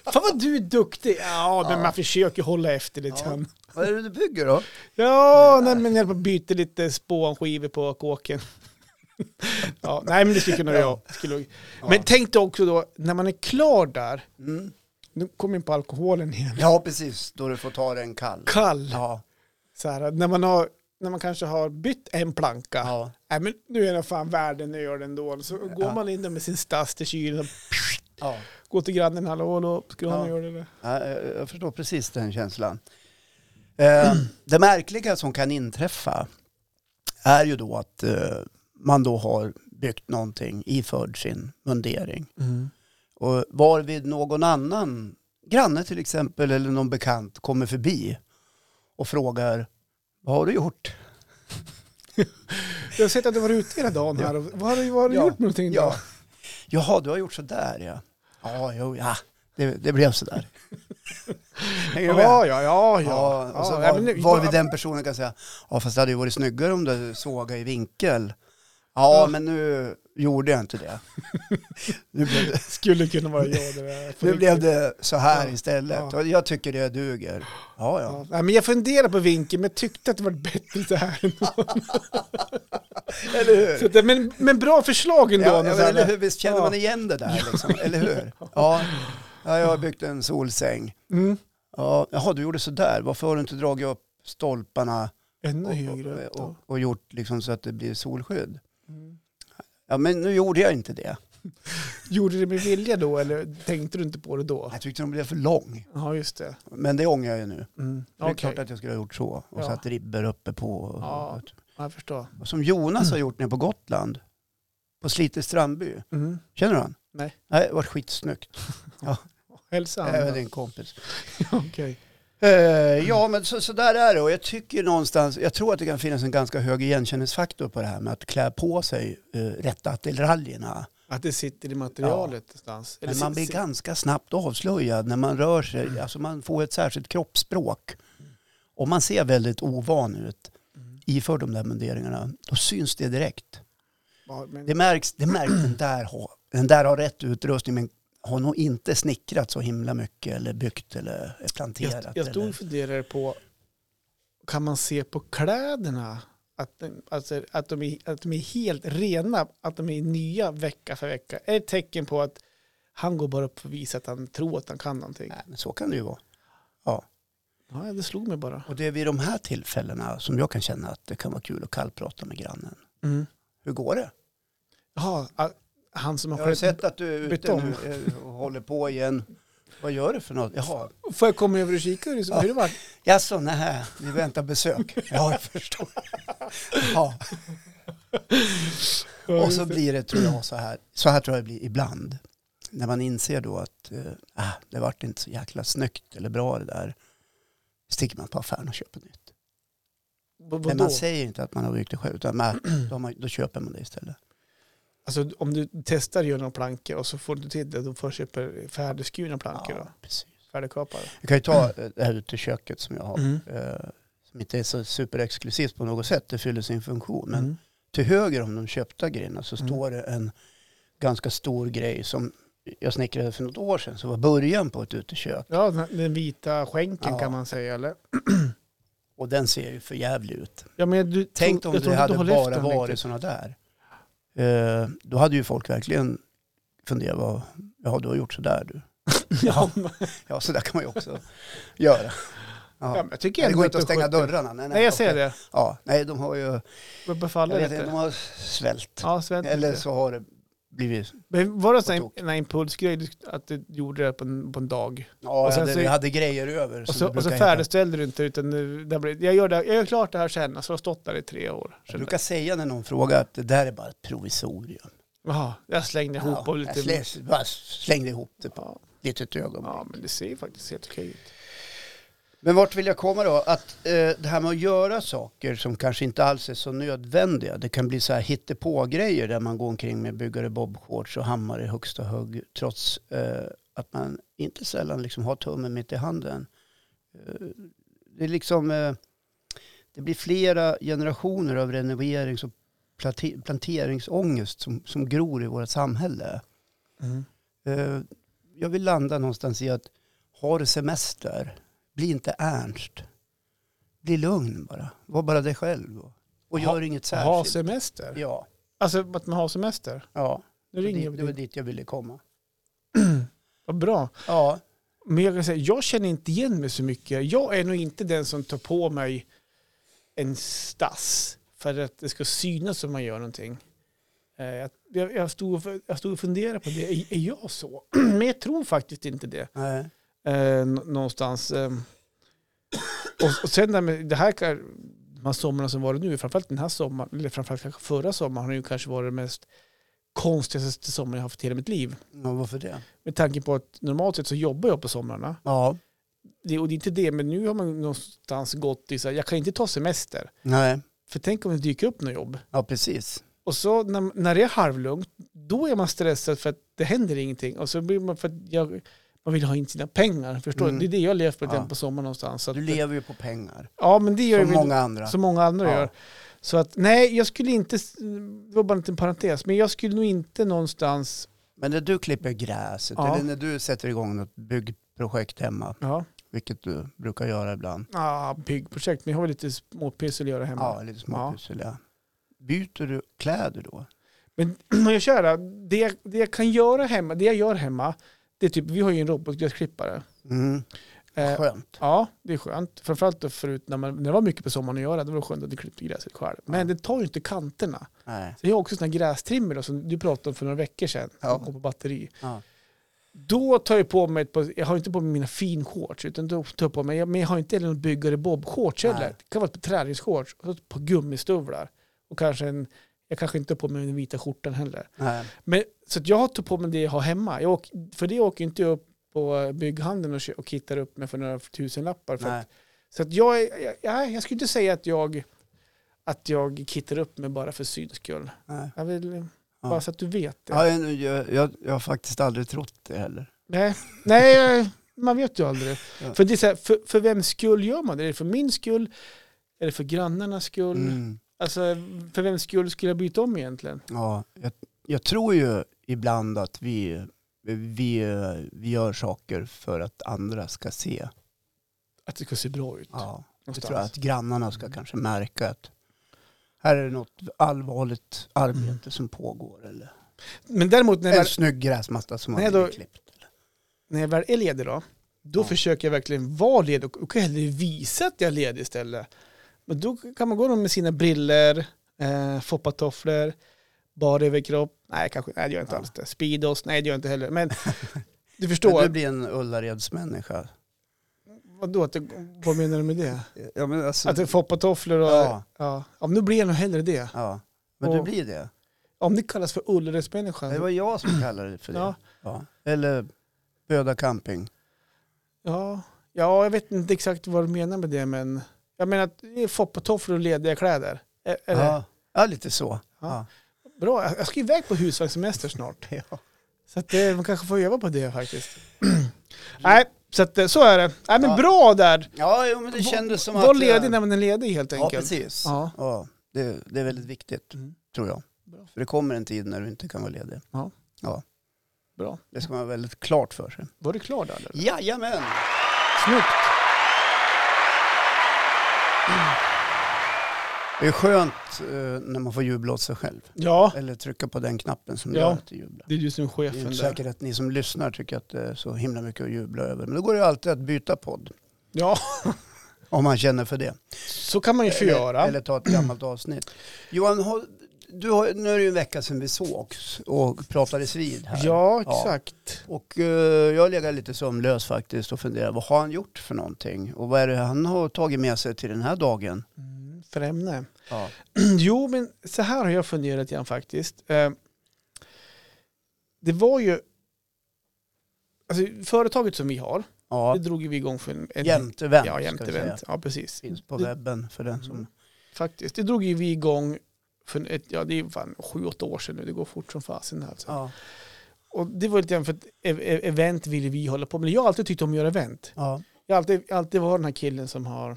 Speaker 1: Fan vad du är duktig. Ja, men
Speaker 2: Ja.
Speaker 1: man försöker hålla efter lite
Speaker 2: Ja.
Speaker 1: grann.
Speaker 2: Vad är det du bygger då?
Speaker 1: Ja, nej, men jag höll på att byta lite spånskivor på kåken. (laughs) Ja, nej, men det skulle kunna jag. Skulle... Men tänk dig också då, när man är klar där,
Speaker 2: Mm.
Speaker 1: nu kommer in på alkoholen igen.
Speaker 2: Ja, precis. Då du får ta den kall.
Speaker 1: Kall.
Speaker 2: Ja.
Speaker 1: Så här, när, man har, när man kanske har bytt en planka.
Speaker 2: ja.
Speaker 1: Nej, men nu är den fan världen nu gör den då. Så går
Speaker 2: Ja.
Speaker 1: man in där med sin stass till kylen och
Speaker 2: ja.
Speaker 1: går till grannen, hallå, hallå, ska du ha
Speaker 2: Ja.
Speaker 1: ja. det?
Speaker 2: Ja, eh, jag jag förstår precis den känslan. Eh, (clears throat) Det märkliga som kan inträffa är ju då att eh, man då har byggt någonting iförd sin mundering. Och varvid någon annan, granne till exempel eller någon bekant, kommer förbi och frågar vad har du gjort?
Speaker 1: Jag har sett att du var ute hela dagen här. Vad har du, vad har du
Speaker 2: Ja. (laughs)
Speaker 1: gjort med någonting då?
Speaker 2: Jaha, du har gjort sådär ja. Ja, jo, ja. Det, det blev sådär. Hänger du med?
Speaker 1: Ja, ja, ja, ja.
Speaker 2: Ja, och så
Speaker 1: nej,
Speaker 2: var,
Speaker 1: men nu-
Speaker 2: var
Speaker 1: ja,
Speaker 2: vi den personen kan säga, ja fast det hade ju varit snyggare om du såga i vinkel. Ja,
Speaker 1: Ja.
Speaker 2: men nu gjorde jag inte
Speaker 1: (laughs)
Speaker 2: det. nu, blev,
Speaker 1: Skulle kunna
Speaker 2: (laughs)
Speaker 1: vara jag det där.
Speaker 2: nu blev det så här
Speaker 1: Ja,
Speaker 2: istället.
Speaker 1: ja.
Speaker 2: Och jag tycker det duger. Ja, ja.
Speaker 1: Ja. Nej, men jag funderade på vinkeln, men tyckte att det var bättre så här.
Speaker 2: Eller hur?
Speaker 1: Så att det- men, men bra förslag ändå.
Speaker 2: Ja,
Speaker 1: när
Speaker 2: ja,
Speaker 1: så här-
Speaker 2: eller hur? Visst känner
Speaker 1: Ja.
Speaker 2: man igen det där, liksom, eller
Speaker 1: (laughs)
Speaker 2: hur? Ja. ja, jag har byggt en solsäng.
Speaker 1: Mm.
Speaker 2: Ja, jaha, du gjorde sådär. Varför har du inte dragit upp stolparna
Speaker 1: Ännu
Speaker 2: och,
Speaker 1: högre upp
Speaker 2: och, och,
Speaker 1: då.
Speaker 2: och gjort liksom så att det blir solskydd?
Speaker 1: Mm.
Speaker 2: Ja, men nu gjorde jag inte det.
Speaker 1: Gjorde du det med vilja då, eller tänkte du inte på det då?
Speaker 2: Jag tyckte den blev för lång.
Speaker 1: Ja, just det.
Speaker 2: Men det ångrar jag ju nu.
Speaker 1: Mm.
Speaker 2: Det är
Speaker 1: Okej.
Speaker 2: klart att jag skulle ha gjort så och
Speaker 1: Ja.
Speaker 2: satt ribbor uppe på. Och,
Speaker 1: Ja. Ja, jag förstår.
Speaker 2: och som Jonas har gjort nere på Gotland, på Slite strandby.
Speaker 1: Mm.
Speaker 2: Känner du han?
Speaker 1: Nej.
Speaker 2: Nej, det var skitsnyggt.
Speaker 1: Hälsa han.
Speaker 2: Även
Speaker 1: då.
Speaker 2: din kompis.
Speaker 1: (laughs) Okej.
Speaker 2: Eh, ja, men så, så där är det. Och jag tycker någonstans, jag tror att det kan finnas en ganska hög igenkänningsfaktor på det här med att klä på sig eh, rätta attiraljerna.
Speaker 1: Att det sitter i materialet någonstans.
Speaker 2: Men man
Speaker 1: sit-
Speaker 2: blir
Speaker 1: sit-
Speaker 2: ganska snabbt avslöjad när man rör sig.
Speaker 1: Mm.
Speaker 2: Alltså man får ett särskilt kroppsspråk. Om man ser väldigt ovan ut
Speaker 1: Mm.
Speaker 2: iför de där munderingarna, då syns det direkt.
Speaker 1: Ja, men-
Speaker 2: Det märks, det märks den, där har, den där har rätt utrustning men har nog inte snickrat så himla mycket eller byggt eller planterat.
Speaker 1: Jag, jag stod
Speaker 2: eller,
Speaker 1: och funderade på, kan man se på kläderna att, den- alltså, att, de är, att de är helt rena, att de är nya vecka för vecka? Är det ett tecken på att han går bara upp för att visa att han tror att han kan någonting?
Speaker 2: nej, men så kan det ju vara.
Speaker 1: Ja, det slog mig bara.
Speaker 2: Och det är vid de här tillfällena som jag kan känna att det kan vara kul att kallprata med grannen.
Speaker 1: Mm.
Speaker 2: Hur går det?
Speaker 1: Jaha, a- han som har
Speaker 2: Jag har
Speaker 1: skett.
Speaker 2: sett att du är ute
Speaker 1: Betong.
Speaker 2: nu eh, och håller på igen. Vad gör du för något? Jaha,
Speaker 1: Får jag komma över och kika hur det, hur det var?
Speaker 2: Jaså, nej, vi väntar
Speaker 1: (laughs)
Speaker 2: besök. Ja, jag förstår. Ja, (laughs) och så blir det, tror jag, så här. Så här tror jag det blir ibland. När man inser då att eh, ah, det vart inte så jäkla snyggt eller bra det där. Sticker man på affären och köper nytt.
Speaker 1: Vad-
Speaker 2: Men
Speaker 1: vadå?
Speaker 2: man säger inte att man har byggt det själv, utan man, (clears throat) då, har man, då köper man det istället.
Speaker 1: Alltså om du testar att göra några plankor och så får du till det, då får du köpa färdigskurna plankor då?
Speaker 2: precis.
Speaker 1: Färdigkapade?
Speaker 2: Jag kan ju ta eh, det här uteköket som jag har.
Speaker 1: Mm.
Speaker 2: Eh, som inte är så superexklusivt på något sätt. Det fyller sin funktion. Men
Speaker 1: Mm.
Speaker 2: till höger om de köpta grejerna så
Speaker 1: Mm.
Speaker 2: står det en ganska stor grej som jag snickrade för något år sedan som var början på ett utekök.
Speaker 1: Ja, den, den vita skänken
Speaker 2: Ja.
Speaker 1: kan man säga, eller?
Speaker 2: Och den ser ju för jävlig ut.
Speaker 1: Ja, men du,
Speaker 2: Tänk
Speaker 1: tror-
Speaker 2: om
Speaker 1: jag
Speaker 2: det
Speaker 1: tror inte
Speaker 2: hade
Speaker 1: du har lyft
Speaker 2: bara
Speaker 1: den
Speaker 2: varit
Speaker 1: riktigt.
Speaker 2: sådana där. Eh, då hade ju folk verkligen funderat, vad, ja du har gjort sådär du.
Speaker 1: (laughs) ja, men-
Speaker 2: (laughs) Ja sådär kan man ju också göra.
Speaker 1: ja,
Speaker 2: Ja.
Speaker 1: men jag tycker
Speaker 2: Det
Speaker 1: ändå
Speaker 2: går inte att
Speaker 1: du
Speaker 2: stänga
Speaker 1: skötte-
Speaker 2: dörrarna. Nej,
Speaker 1: Nej, jag
Speaker 2: okej.
Speaker 1: ser det.
Speaker 2: Ja, nej, de har ju,
Speaker 1: Jag
Speaker 2: jag
Speaker 1: befaller
Speaker 2: vet inte, de
Speaker 1: lite.
Speaker 2: har svält.
Speaker 1: Ja, Sven.
Speaker 2: Eller så har det blivit,
Speaker 1: Men Var det en
Speaker 2: På
Speaker 1: sån här- en impulsgrej du- att du gjorde det på en, på en dag?
Speaker 2: ja,
Speaker 1: Och sen
Speaker 2: jag hade,
Speaker 1: så-
Speaker 2: jag hade grejer över.
Speaker 1: Och
Speaker 2: som
Speaker 1: så,
Speaker 2: det
Speaker 1: och så
Speaker 2: brukar heta.
Speaker 1: färdigställde du inte, utan nu- det blev, jag, gör det, jag gör klart det här sen, och så har jag stått där i tre år.
Speaker 2: Jag brukar säga när någon frågar att det där är bara ett provisorium.
Speaker 1: Jaha, jag slängde ihop och
Speaker 2: jag
Speaker 1: lite...
Speaker 2: slä- bara slängde ihop det på
Speaker 1: Ja,
Speaker 2: ett litet ögonblick.
Speaker 1: ja, men det ser ju faktiskt helt okej ut.
Speaker 2: Men vart vill jag komma då? Att eh, det här med att göra saker som kanske inte alls är så nödvändiga. Det kan bli så här hittepå-grejer där man går omkring med byggare bobshorts och hammare i högsta hugg trots eh, att man inte sällan liksom har tummen mitt i handen. Eh, det är liksom... Eh, det blir flera generationer av renoverings och plante- planteringsångest som, som gror i vårt samhälle.
Speaker 1: Mm.
Speaker 2: Eh, jag vill landa någonstans i att ha du semester, bli inte ernst. Bli lugn bara. Var bara dig själv. Och, och
Speaker 1: Ha-
Speaker 2: gör inget
Speaker 1: Ha
Speaker 2: särskilt.
Speaker 1: semester?
Speaker 2: Ja.
Speaker 1: Alltså att man har semester.
Speaker 2: Ja,
Speaker 1: Nu ringer
Speaker 2: det,
Speaker 1: jag
Speaker 2: det var
Speaker 1: dig.
Speaker 2: dit jag ville komma.
Speaker 1: Vad bra.
Speaker 2: Ja,
Speaker 1: Men jag kan säga, jag känner inte igen mig så mycket. Jag är nog inte den som tar på mig en stass för att det ska synas om man gör någonting. Eh, Jag, jag, jag, stod, och- jag stod och funderade på det. Är, är jag så? (clears throat) Men jag tror faktiskt inte det.
Speaker 2: nej.
Speaker 1: Eh, nå- någonstans. Eh, och, och sen det här med det här, kan- de här somrarna som varit nu, framförallt den här sommaren, eller framförallt kanske förra sommaren, har ju kanske varit den mest konstigaste sommaren jag haft i hela mitt liv.
Speaker 2: Ja, varför det?
Speaker 1: Med tanke på att normalt sett så jobbar jag på somrarna.
Speaker 2: Ja,
Speaker 1: Det, och det är inte det, men nu har man någonstans gått i så här, jag kan inte ta semester.
Speaker 2: nej.
Speaker 1: För tänk om det dyker upp något jobb.
Speaker 2: Ja, precis.
Speaker 1: Och så när, när det är halvlugnt, då är man stressad för att det händer ingenting. Och så blir man för att jag, man vill ha in sina pengar. Förstår du?
Speaker 2: Mm.
Speaker 1: Det är det jag har levt med
Speaker 2: Ja.
Speaker 1: den på sommaren någonstans. Så att,
Speaker 2: Du lever ju på pengar.
Speaker 1: ja, men det gör
Speaker 2: Som
Speaker 1: jag väl-
Speaker 2: många andra.
Speaker 1: som många andra
Speaker 2: Ja.
Speaker 1: gör. Så att nej, jag skulle inte, s- det var bara en liten parentes, men jag skulle nog inte någonstans,
Speaker 2: Men när du klipper gräset
Speaker 1: Ja.
Speaker 2: eller när du sätter igång något byggprojekt hemma,
Speaker 1: ja,
Speaker 2: vilket du brukar göra ibland.
Speaker 1: ah, byggprojekt, men jag har lite småpyssel att göra hemma.
Speaker 2: Ja, lite småpussel. Ja. Byter du kläder då?
Speaker 1: Men (clears throat) när jag kör det, det, jag- det jag kan göra hemma, det jag gör hemma, det är typ, vi har ju en robotgräsklippare.
Speaker 2: Mm.
Speaker 1: Eh,
Speaker 2: Skönt.
Speaker 1: ja, det är skönt. Framförallt då förut när, man, när det var mycket på sommaren att göra, det var det skönt att du klippte gräset själv. Men det tar ju inte kanterna.
Speaker 2: Nej.
Speaker 1: Så jag har också sådana grästrimmer då, som du pratade om för några veckor sedan,
Speaker 2: Ja.
Speaker 1: som går på batteri.
Speaker 2: Ja.
Speaker 1: Då tar jag på mig, ett par, jag har inte på mig mina finshorts, utan då tar jag på mig, men jag har inte heller någon byggare bob-shorts heller.
Speaker 2: Nej.
Speaker 1: Det kan vara ett par träningsshorts och ett par gummistövlar. Och kanske en, jag kanske inte har på mig den vita skjortan heller.
Speaker 2: Nej.
Speaker 1: Men, så att jag har tagit på mig det jag har hemma. Jag åk, för det åker inte jag upp på bygghandeln och, kö- och kittar upp mig för några tusenlappar. För
Speaker 2: Nej.
Speaker 1: att, så att jag, är- jag, jag, jag skulle inte säga att jag, att jag kittar upp mig bara för syns skull.
Speaker 2: Nej.
Speaker 1: Jag vill, Bara så att du vet det.
Speaker 2: Ja, jag, jag, jag, jag har faktiskt aldrig trott det heller.
Speaker 1: Nej, nej eh, man vet ju aldrig.
Speaker 2: Ja.
Speaker 1: För, det är så här, för, för vems skull gör man det? Är det för min skull? Är det för grannarnas skull?
Speaker 2: Mm.
Speaker 1: Alltså, för vems skull skulle jag byta om egentligen?
Speaker 2: Ja, jag, jag tror ju ibland att vi, vi, vi gör saker för att andra ska se.
Speaker 1: Att det ska se bra ut.
Speaker 2: Ja. Jag
Speaker 1: någonstans.
Speaker 2: tror att grannarna ska kanske märka att här är det något allvarligt arbete som pågår. Eller
Speaker 1: Men däremot när
Speaker 2: en
Speaker 1: man,
Speaker 2: snygg gräsmatta som har
Speaker 1: Nej,
Speaker 2: blivit
Speaker 1: då-
Speaker 2: klippt.
Speaker 1: när jag väl är ledig då, då
Speaker 2: Ja.
Speaker 1: försöker jag verkligen vara ledig och, och hellre visa att jag är ledig istället. Men då kan man gå runt med sina briller, eh, foppatofflor, bar överkropp. Nej, kanske, nej, det gör jag inte
Speaker 2: Ja.
Speaker 1: alls det. Speedos, nej det gör jag inte heller. (laughs) Men du
Speaker 2: Men
Speaker 1: förstår,
Speaker 2: du blir en Ullaredsmänniska.
Speaker 1: vadå, att det, vad menar du med det?
Speaker 2: Ja, men alltså,
Speaker 1: Att det är foppatofflor och... Ja.
Speaker 2: Ja.
Speaker 1: Ja. men nu blir jag nog hellre det.
Speaker 2: ja. Men
Speaker 1: Och-
Speaker 2: du blir det.
Speaker 1: Om det kallas för Ullaredsmänniska.
Speaker 2: Det var jag som kallade det för det.
Speaker 1: Alltså- Ja.
Speaker 2: Ja. Eller Böda camping.
Speaker 1: Ja. ja, jag vet inte exakt vad du menar med det, men... Jag menar att det är foppatofflor och lediga kläder. Ä- Eller,
Speaker 2: Ja. ja, lite så.
Speaker 1: Ja.
Speaker 2: Ja.
Speaker 1: Bra, jag jag ska iväg på husvagnssemester snart.
Speaker 2: Ja.
Speaker 1: Så att, eh, man kanske får öva på det faktiskt. Nej, så, att, eh, så är det. Nej, men
Speaker 2: Ja.
Speaker 1: bra där!
Speaker 2: Ja, jo, men det kändes som att... eh,
Speaker 1: Var ledig när man är ledig helt
Speaker 2: Ja,
Speaker 1: enkelt.
Speaker 2: precis. Ja.
Speaker 1: Ja,
Speaker 2: det, det är väldigt viktigt,
Speaker 1: Mm.
Speaker 2: tror jag.
Speaker 1: Bra.
Speaker 2: För det kommer en tid när du inte kan vara ledig.
Speaker 1: bra.
Speaker 2: Det ska man ha väldigt klart för sig.
Speaker 1: Var du klar där? Eller?
Speaker 2: Jajamän!
Speaker 1: Snyggt!
Speaker 2: Det är skönt eh, när man får jubla åt sig själv.
Speaker 1: Ja,
Speaker 2: Eller trycka på den knappen som
Speaker 1: Ja.
Speaker 2: gör att du jublar.
Speaker 1: det är du som är
Speaker 2: Det är
Speaker 1: chefen
Speaker 2: inte
Speaker 1: där.
Speaker 2: säkert att ni som lyssnar tycker att det är så himla mycket att jubla över. Men då går det ju alltid att byta podd.
Speaker 1: Ja,
Speaker 2: Om man känner för det.
Speaker 1: så kan man ju få göra.
Speaker 2: Eller, eller ta ett gammalt avsnitt. Johan, har, du har, nu är det ju en vecka sedan vi sågs och pratades vid här.
Speaker 1: Ja, exakt.
Speaker 2: Och eh, jag har legat lite sömnlös faktiskt och funderat, vad har han gjort för någonting? Och vad är det han har tagit med sig till den här dagen?
Speaker 1: Mm, för ämne. (clears throat)
Speaker 2: Ja.
Speaker 1: Jo, men så här har jag funderat igen faktiskt. Eh, Det var ju... Alltså, företaget som vi har,
Speaker 2: ja.
Speaker 1: det drog ju vi igång för en... en
Speaker 2: Jämte vänt,
Speaker 1: Ja,
Speaker 2: ska
Speaker 1: jämte
Speaker 2: vi säga.
Speaker 1: event. Ja, precis.
Speaker 2: Finns på
Speaker 1: Det-
Speaker 2: webben för den som...
Speaker 1: Mm. Faktiskt. Det drog ju vi igång för ett, ja, det är fan sju, åtta år sedan nu. Det går fort som fasen. Alltså.
Speaker 2: Ja.
Speaker 1: Och det var lite grann för att ev- ev- event ville vi hålla på med. Jag har alltid tyckt om att göra event.
Speaker 2: Ja.
Speaker 1: Jag har alltid, alltid varit den här killen som har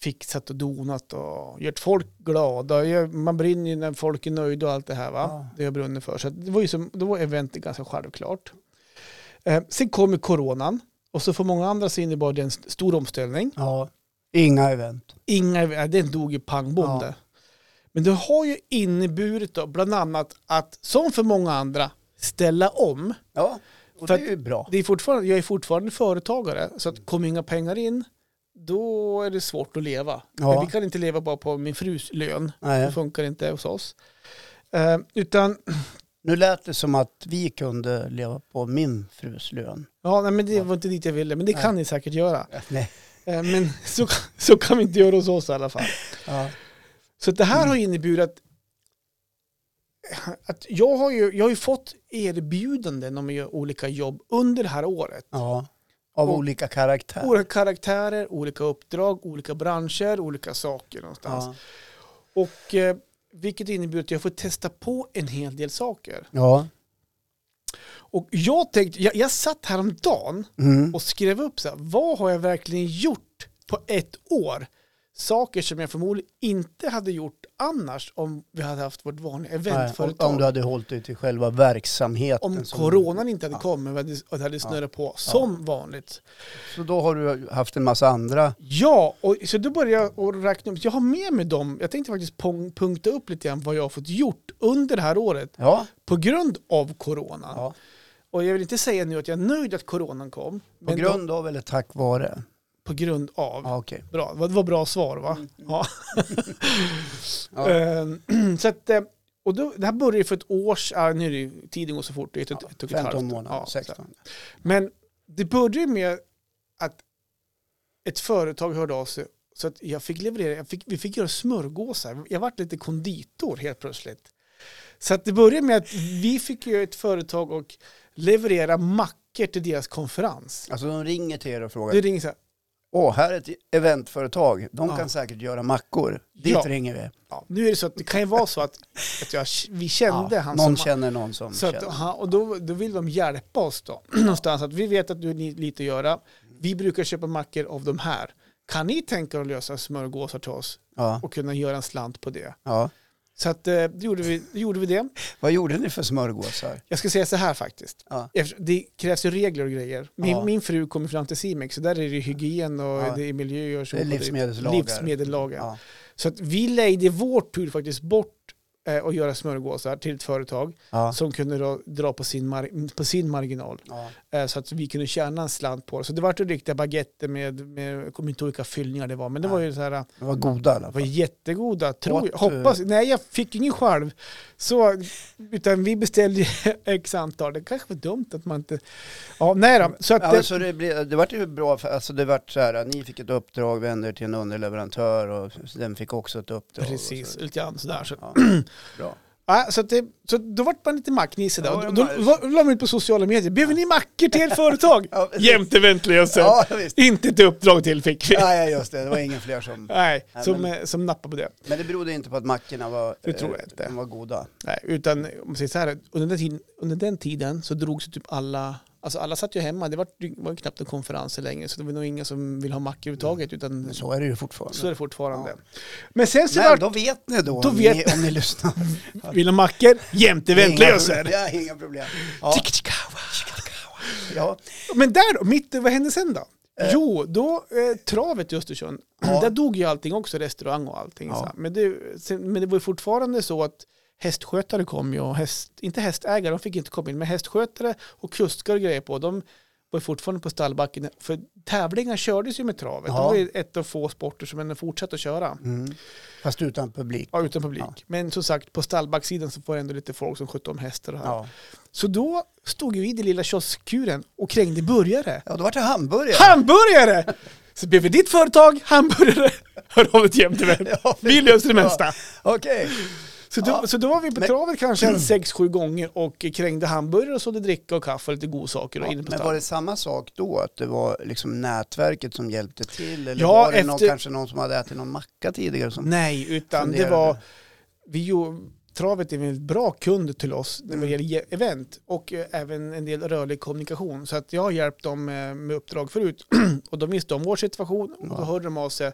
Speaker 1: fixat och donat och gjort folk glada. Jag- Man brinner ju när folk är nöjda och allt det här. Va?
Speaker 2: Ja.
Speaker 1: Det har jag brunnit för. Så att det var ju som, då var eventet ganska självklart. Eh, sen kom ju coronan. Och så för många andra så innebar det en st- stor omställning.
Speaker 2: ja. Inga event.
Speaker 1: Inga, den dog ju pang bom
Speaker 2: Ja.
Speaker 1: där. Men det har ju inneburit då, bland annat att, som för många andra, ställa om.
Speaker 2: Ja, och
Speaker 1: För
Speaker 2: det är ju bra.
Speaker 1: Det är fortfarande, jag är fortfarande företagare, så att kommer inga pengar in, då är det svårt att leva.
Speaker 2: Ja.
Speaker 1: Men vi kan inte leva bara på min frus lön. Det
Speaker 2: Nej.
Speaker 1: funkar inte hos oss. Eh, utan,
Speaker 2: Nu lät det som att vi kunde leva på min frus lön.
Speaker 1: ja, nej, men det var inte dit jag ville, men det
Speaker 2: Nej.
Speaker 1: kan ni säkert göra.
Speaker 2: Nej.
Speaker 1: Eh, men (laughs) så, så kan vi inte göra hos oss i alla fall.
Speaker 2: Ja.
Speaker 1: Så det här har inneburit att, att jag, har ju, jag har ju fått erbjudanden om att göra olika jobb under det här året.
Speaker 2: ja. Av
Speaker 1: Och-
Speaker 2: olika karaktär.
Speaker 1: Olika karaktärer, olika uppdrag, olika branscher, olika saker någonstans.
Speaker 2: Ja.
Speaker 1: Och eh, vilket innebär att jag får testa på en hel del saker.
Speaker 2: ja.
Speaker 1: Och jag tänkte, jag, jag satt häromdagen
Speaker 2: Mm.
Speaker 1: och skrev upp så här, vad har jag verkligen gjort på ett år? Saker som jag förmodligen inte hade gjort annars om vi hade haft vårt vanliga
Speaker 2: Nej, om,
Speaker 1: eventföretag.
Speaker 2: om du hade hållit dig till själva verksamheten.
Speaker 1: om
Speaker 2: som-
Speaker 1: coronan inte hade kommit och det hade- och det hade snurrat på som vanligt.
Speaker 2: Så då har du haft en massa andra.
Speaker 1: Ja, och, så då började jag och räkna upp. Jag har med mig dem. Jag tänkte faktiskt pong- punkta upp lite grann vad jag har fått gjort under det här året
Speaker 2: Ja.
Speaker 1: på grund av coronan.
Speaker 2: ja.
Speaker 1: Och jag vill inte säga nu att jag är nöjd att coronan kom.
Speaker 2: På
Speaker 1: men
Speaker 2: grund av eller tack vare?
Speaker 1: då- på grund av.
Speaker 2: Ja, okej.
Speaker 1: Bra, det var- det var bra svar va? Ja.
Speaker 2: (laughs)
Speaker 1: (laughs)
Speaker 2: Ja.
Speaker 1: Ehm, (clears throat) så att, eh, och då, det här började ju för ett år sedan, nu är det ju, tiden går så fort, det är ett, ett, och ett halvt.
Speaker 2: 15 månader,
Speaker 1: Ja, så här.
Speaker 2: 16.
Speaker 1: Men det började ju med att ett företag hörde av sig så att jag fick leverera, jag fick, vi fick göra smörgåsar. Jag vart lite konditor helt plötsligt. Så att det började med att vi fick ju ett företag och leverera mackor till deras konferens.
Speaker 2: Alltså de ringer till er och frågar.
Speaker 1: Det ringer så här,
Speaker 2: Åh, här är ett eventföretag. De
Speaker 1: Ja.
Speaker 2: kan säkert göra mackor. Dit
Speaker 1: Ja.
Speaker 2: ringer vi.
Speaker 1: ja, nu är det så att det kan ju vara så att, att jag, vi kände han
Speaker 2: någon
Speaker 1: som
Speaker 2: känner någon som
Speaker 1: Så att,
Speaker 2: känner.
Speaker 1: aha, och då, då vill de hjälpa oss då. (clears throat) Någonstans att vi vet att du har ni- lite att göra. Vi brukar köpa mackor av de här. Kan ni tänka er att lösa smörgåsar till oss
Speaker 2: Ja.
Speaker 1: och kunna göra en slant på det?
Speaker 2: Ja.
Speaker 1: Så att, eh, då, gjorde vi, då gjorde vi det.
Speaker 2: Vad gjorde ni för smörgåsar?
Speaker 1: Jag ska säga så här faktiskt.
Speaker 2: Ja.
Speaker 1: Efter- Det krävs ju regler och grejer. Min,
Speaker 2: Ja.
Speaker 1: min fru kommer från Anticimex så där är det ju hygien och
Speaker 2: Ja.
Speaker 1: det är miljö och så.
Speaker 2: Det är
Speaker 1: och
Speaker 2: livsmedelslagar.
Speaker 1: livsmedellagar.
Speaker 2: Ja.
Speaker 1: Så att vi lejde i vår tur faktiskt bort eh, att göra smörgåsar till ett företag
Speaker 2: Ja.
Speaker 1: som kunde då dra på sin, mar- på sin marginal.
Speaker 2: Ja.
Speaker 1: Eh, så att vi kunde tjäna en slant på det. Så det var ju riktiga baguetter med, med jag kommer inte ihåg vilka fyllningar det var, men det var ju så här, det
Speaker 2: De var goda i alla
Speaker 1: var
Speaker 2: fall.
Speaker 1: jättegoda, tror
Speaker 2: Åt
Speaker 1: jag.
Speaker 2: du?
Speaker 1: Hoppas, nej jag fick ingen själv. Så, utan vi beställde ju (laughs) x antal, det kanske var dumt att man inte, ja nej då. Så att,
Speaker 2: Ja,
Speaker 1: det-
Speaker 2: men så det, blev, det vart ju bra, för, alltså det vart så här, att ni fick ett uppdrag, vände er till en underleverantör och så den fick också ett uppdrag. och
Speaker 1: precis,
Speaker 2: Så,
Speaker 1: lite grann sådär. Så,
Speaker 2: ja, bra.
Speaker 1: ja, så, att det, så då vart man lite macknisse där.
Speaker 2: Ja,
Speaker 1: Och
Speaker 2: men
Speaker 1: då,
Speaker 2: man-
Speaker 1: då, då la man ut på sociala medier, behöver ni
Speaker 2: (laughs)
Speaker 1: mackor till ert företag?
Speaker 2: Ja, precis.
Speaker 1: Jämte väntlösen.
Speaker 2: Ja, visst.
Speaker 1: Inte ett uppdrag till fick vi.
Speaker 2: Nej, just det. Det var ingen fler som...
Speaker 1: Nej,
Speaker 2: Nej,
Speaker 1: som,
Speaker 2: men-
Speaker 1: eh, som nappade på det.
Speaker 2: Men det berodde inte på att mackorna var,
Speaker 1: Det tror jag
Speaker 2: eh,
Speaker 1: inte.
Speaker 2: de var goda.
Speaker 1: Nej, utan om man säger så här, under den tiden, under den tiden så drogs ju typ alla, alltså alla satt ju hemma, det var, det var ju knappt en konferenser längre, så det var nog inga som vill ha mackor överhuvudtaget, utan
Speaker 2: Men
Speaker 1: Mm. så,
Speaker 2: så är det ju fortfarande.
Speaker 1: är det fortfarande. Men sen så
Speaker 2: Men
Speaker 1: vart
Speaker 2: då vet ni då,
Speaker 1: Då
Speaker 2: om,
Speaker 1: vet-
Speaker 2: ni, om ni
Speaker 1: (laughs)
Speaker 2: lyssnar.
Speaker 1: vill ha mackor jämte
Speaker 2: Inga
Speaker 1: väntlöser.
Speaker 2: problem. Ja, inga problem. Ja,
Speaker 1: Tchick, tchick, wow.
Speaker 2: ja.
Speaker 1: Men där då, mitt, vad hände sen då? Jo, då, eh, travet i Östersund,
Speaker 2: Ja.
Speaker 1: där dog ju allting också, restaurang och allting.
Speaker 2: Ja.
Speaker 1: Så här. Men, det, sen, men det var ju fortfarande så att hästskötare kom ju, och häst, inte hästägare, de fick inte komma in, men hästskötare och kuskar och grejer på, de var ju fortfarande på stallbacken, för tävlingar kördes ju med travet.
Speaker 2: Ja.
Speaker 1: Det var ju ett av få sporter som ändå fortsatte att köra.
Speaker 2: Mm. Fast utan publik.
Speaker 1: Ja, utan publik.
Speaker 2: Ja.
Speaker 1: Men som sagt, på stallbacksidan så var det ändå lite folk som skötte om hästar och här.
Speaker 2: Ja.
Speaker 1: Så då stod ju vi i den lilla kioskuren och krängde burgare.
Speaker 2: ja, då vart det hamburgare.
Speaker 1: Hamburgare! Så blev vi ditt företag, hamburgare, (laughs) hör av dig till Jämtevän.
Speaker 2: Ja,
Speaker 1: Vi löser det mesta.
Speaker 2: Okej.
Speaker 1: Så då,
Speaker 2: Ja.
Speaker 1: så då var vi på
Speaker 2: Men-
Speaker 1: travet kanske en sex, sju gånger och krängde hamburgare och sålde dricka och kaffe och lite godsaker och
Speaker 2: Ja,
Speaker 1: inne på
Speaker 2: men var
Speaker 1: stan.
Speaker 2: det samma sak då? Att det var liksom nätverket som hjälpte till? Eller
Speaker 1: Ja,
Speaker 2: var det någon,
Speaker 1: efter-
Speaker 2: kanske någon som hade ätit någon macka tidigare? Som...
Speaker 1: Nej, utan det
Speaker 2: Funderade.
Speaker 1: var... Vi gjorde, travet är en bra kund till oss när det
Speaker 2: Mm.
Speaker 1: gäller ge- event och eh, även en del rörlig kommunikation. Så att jag har hjälpt dem eh, med uppdrag förut (clears throat) och de visste om vår situation och då
Speaker 2: Ja.
Speaker 1: hörde de av sig.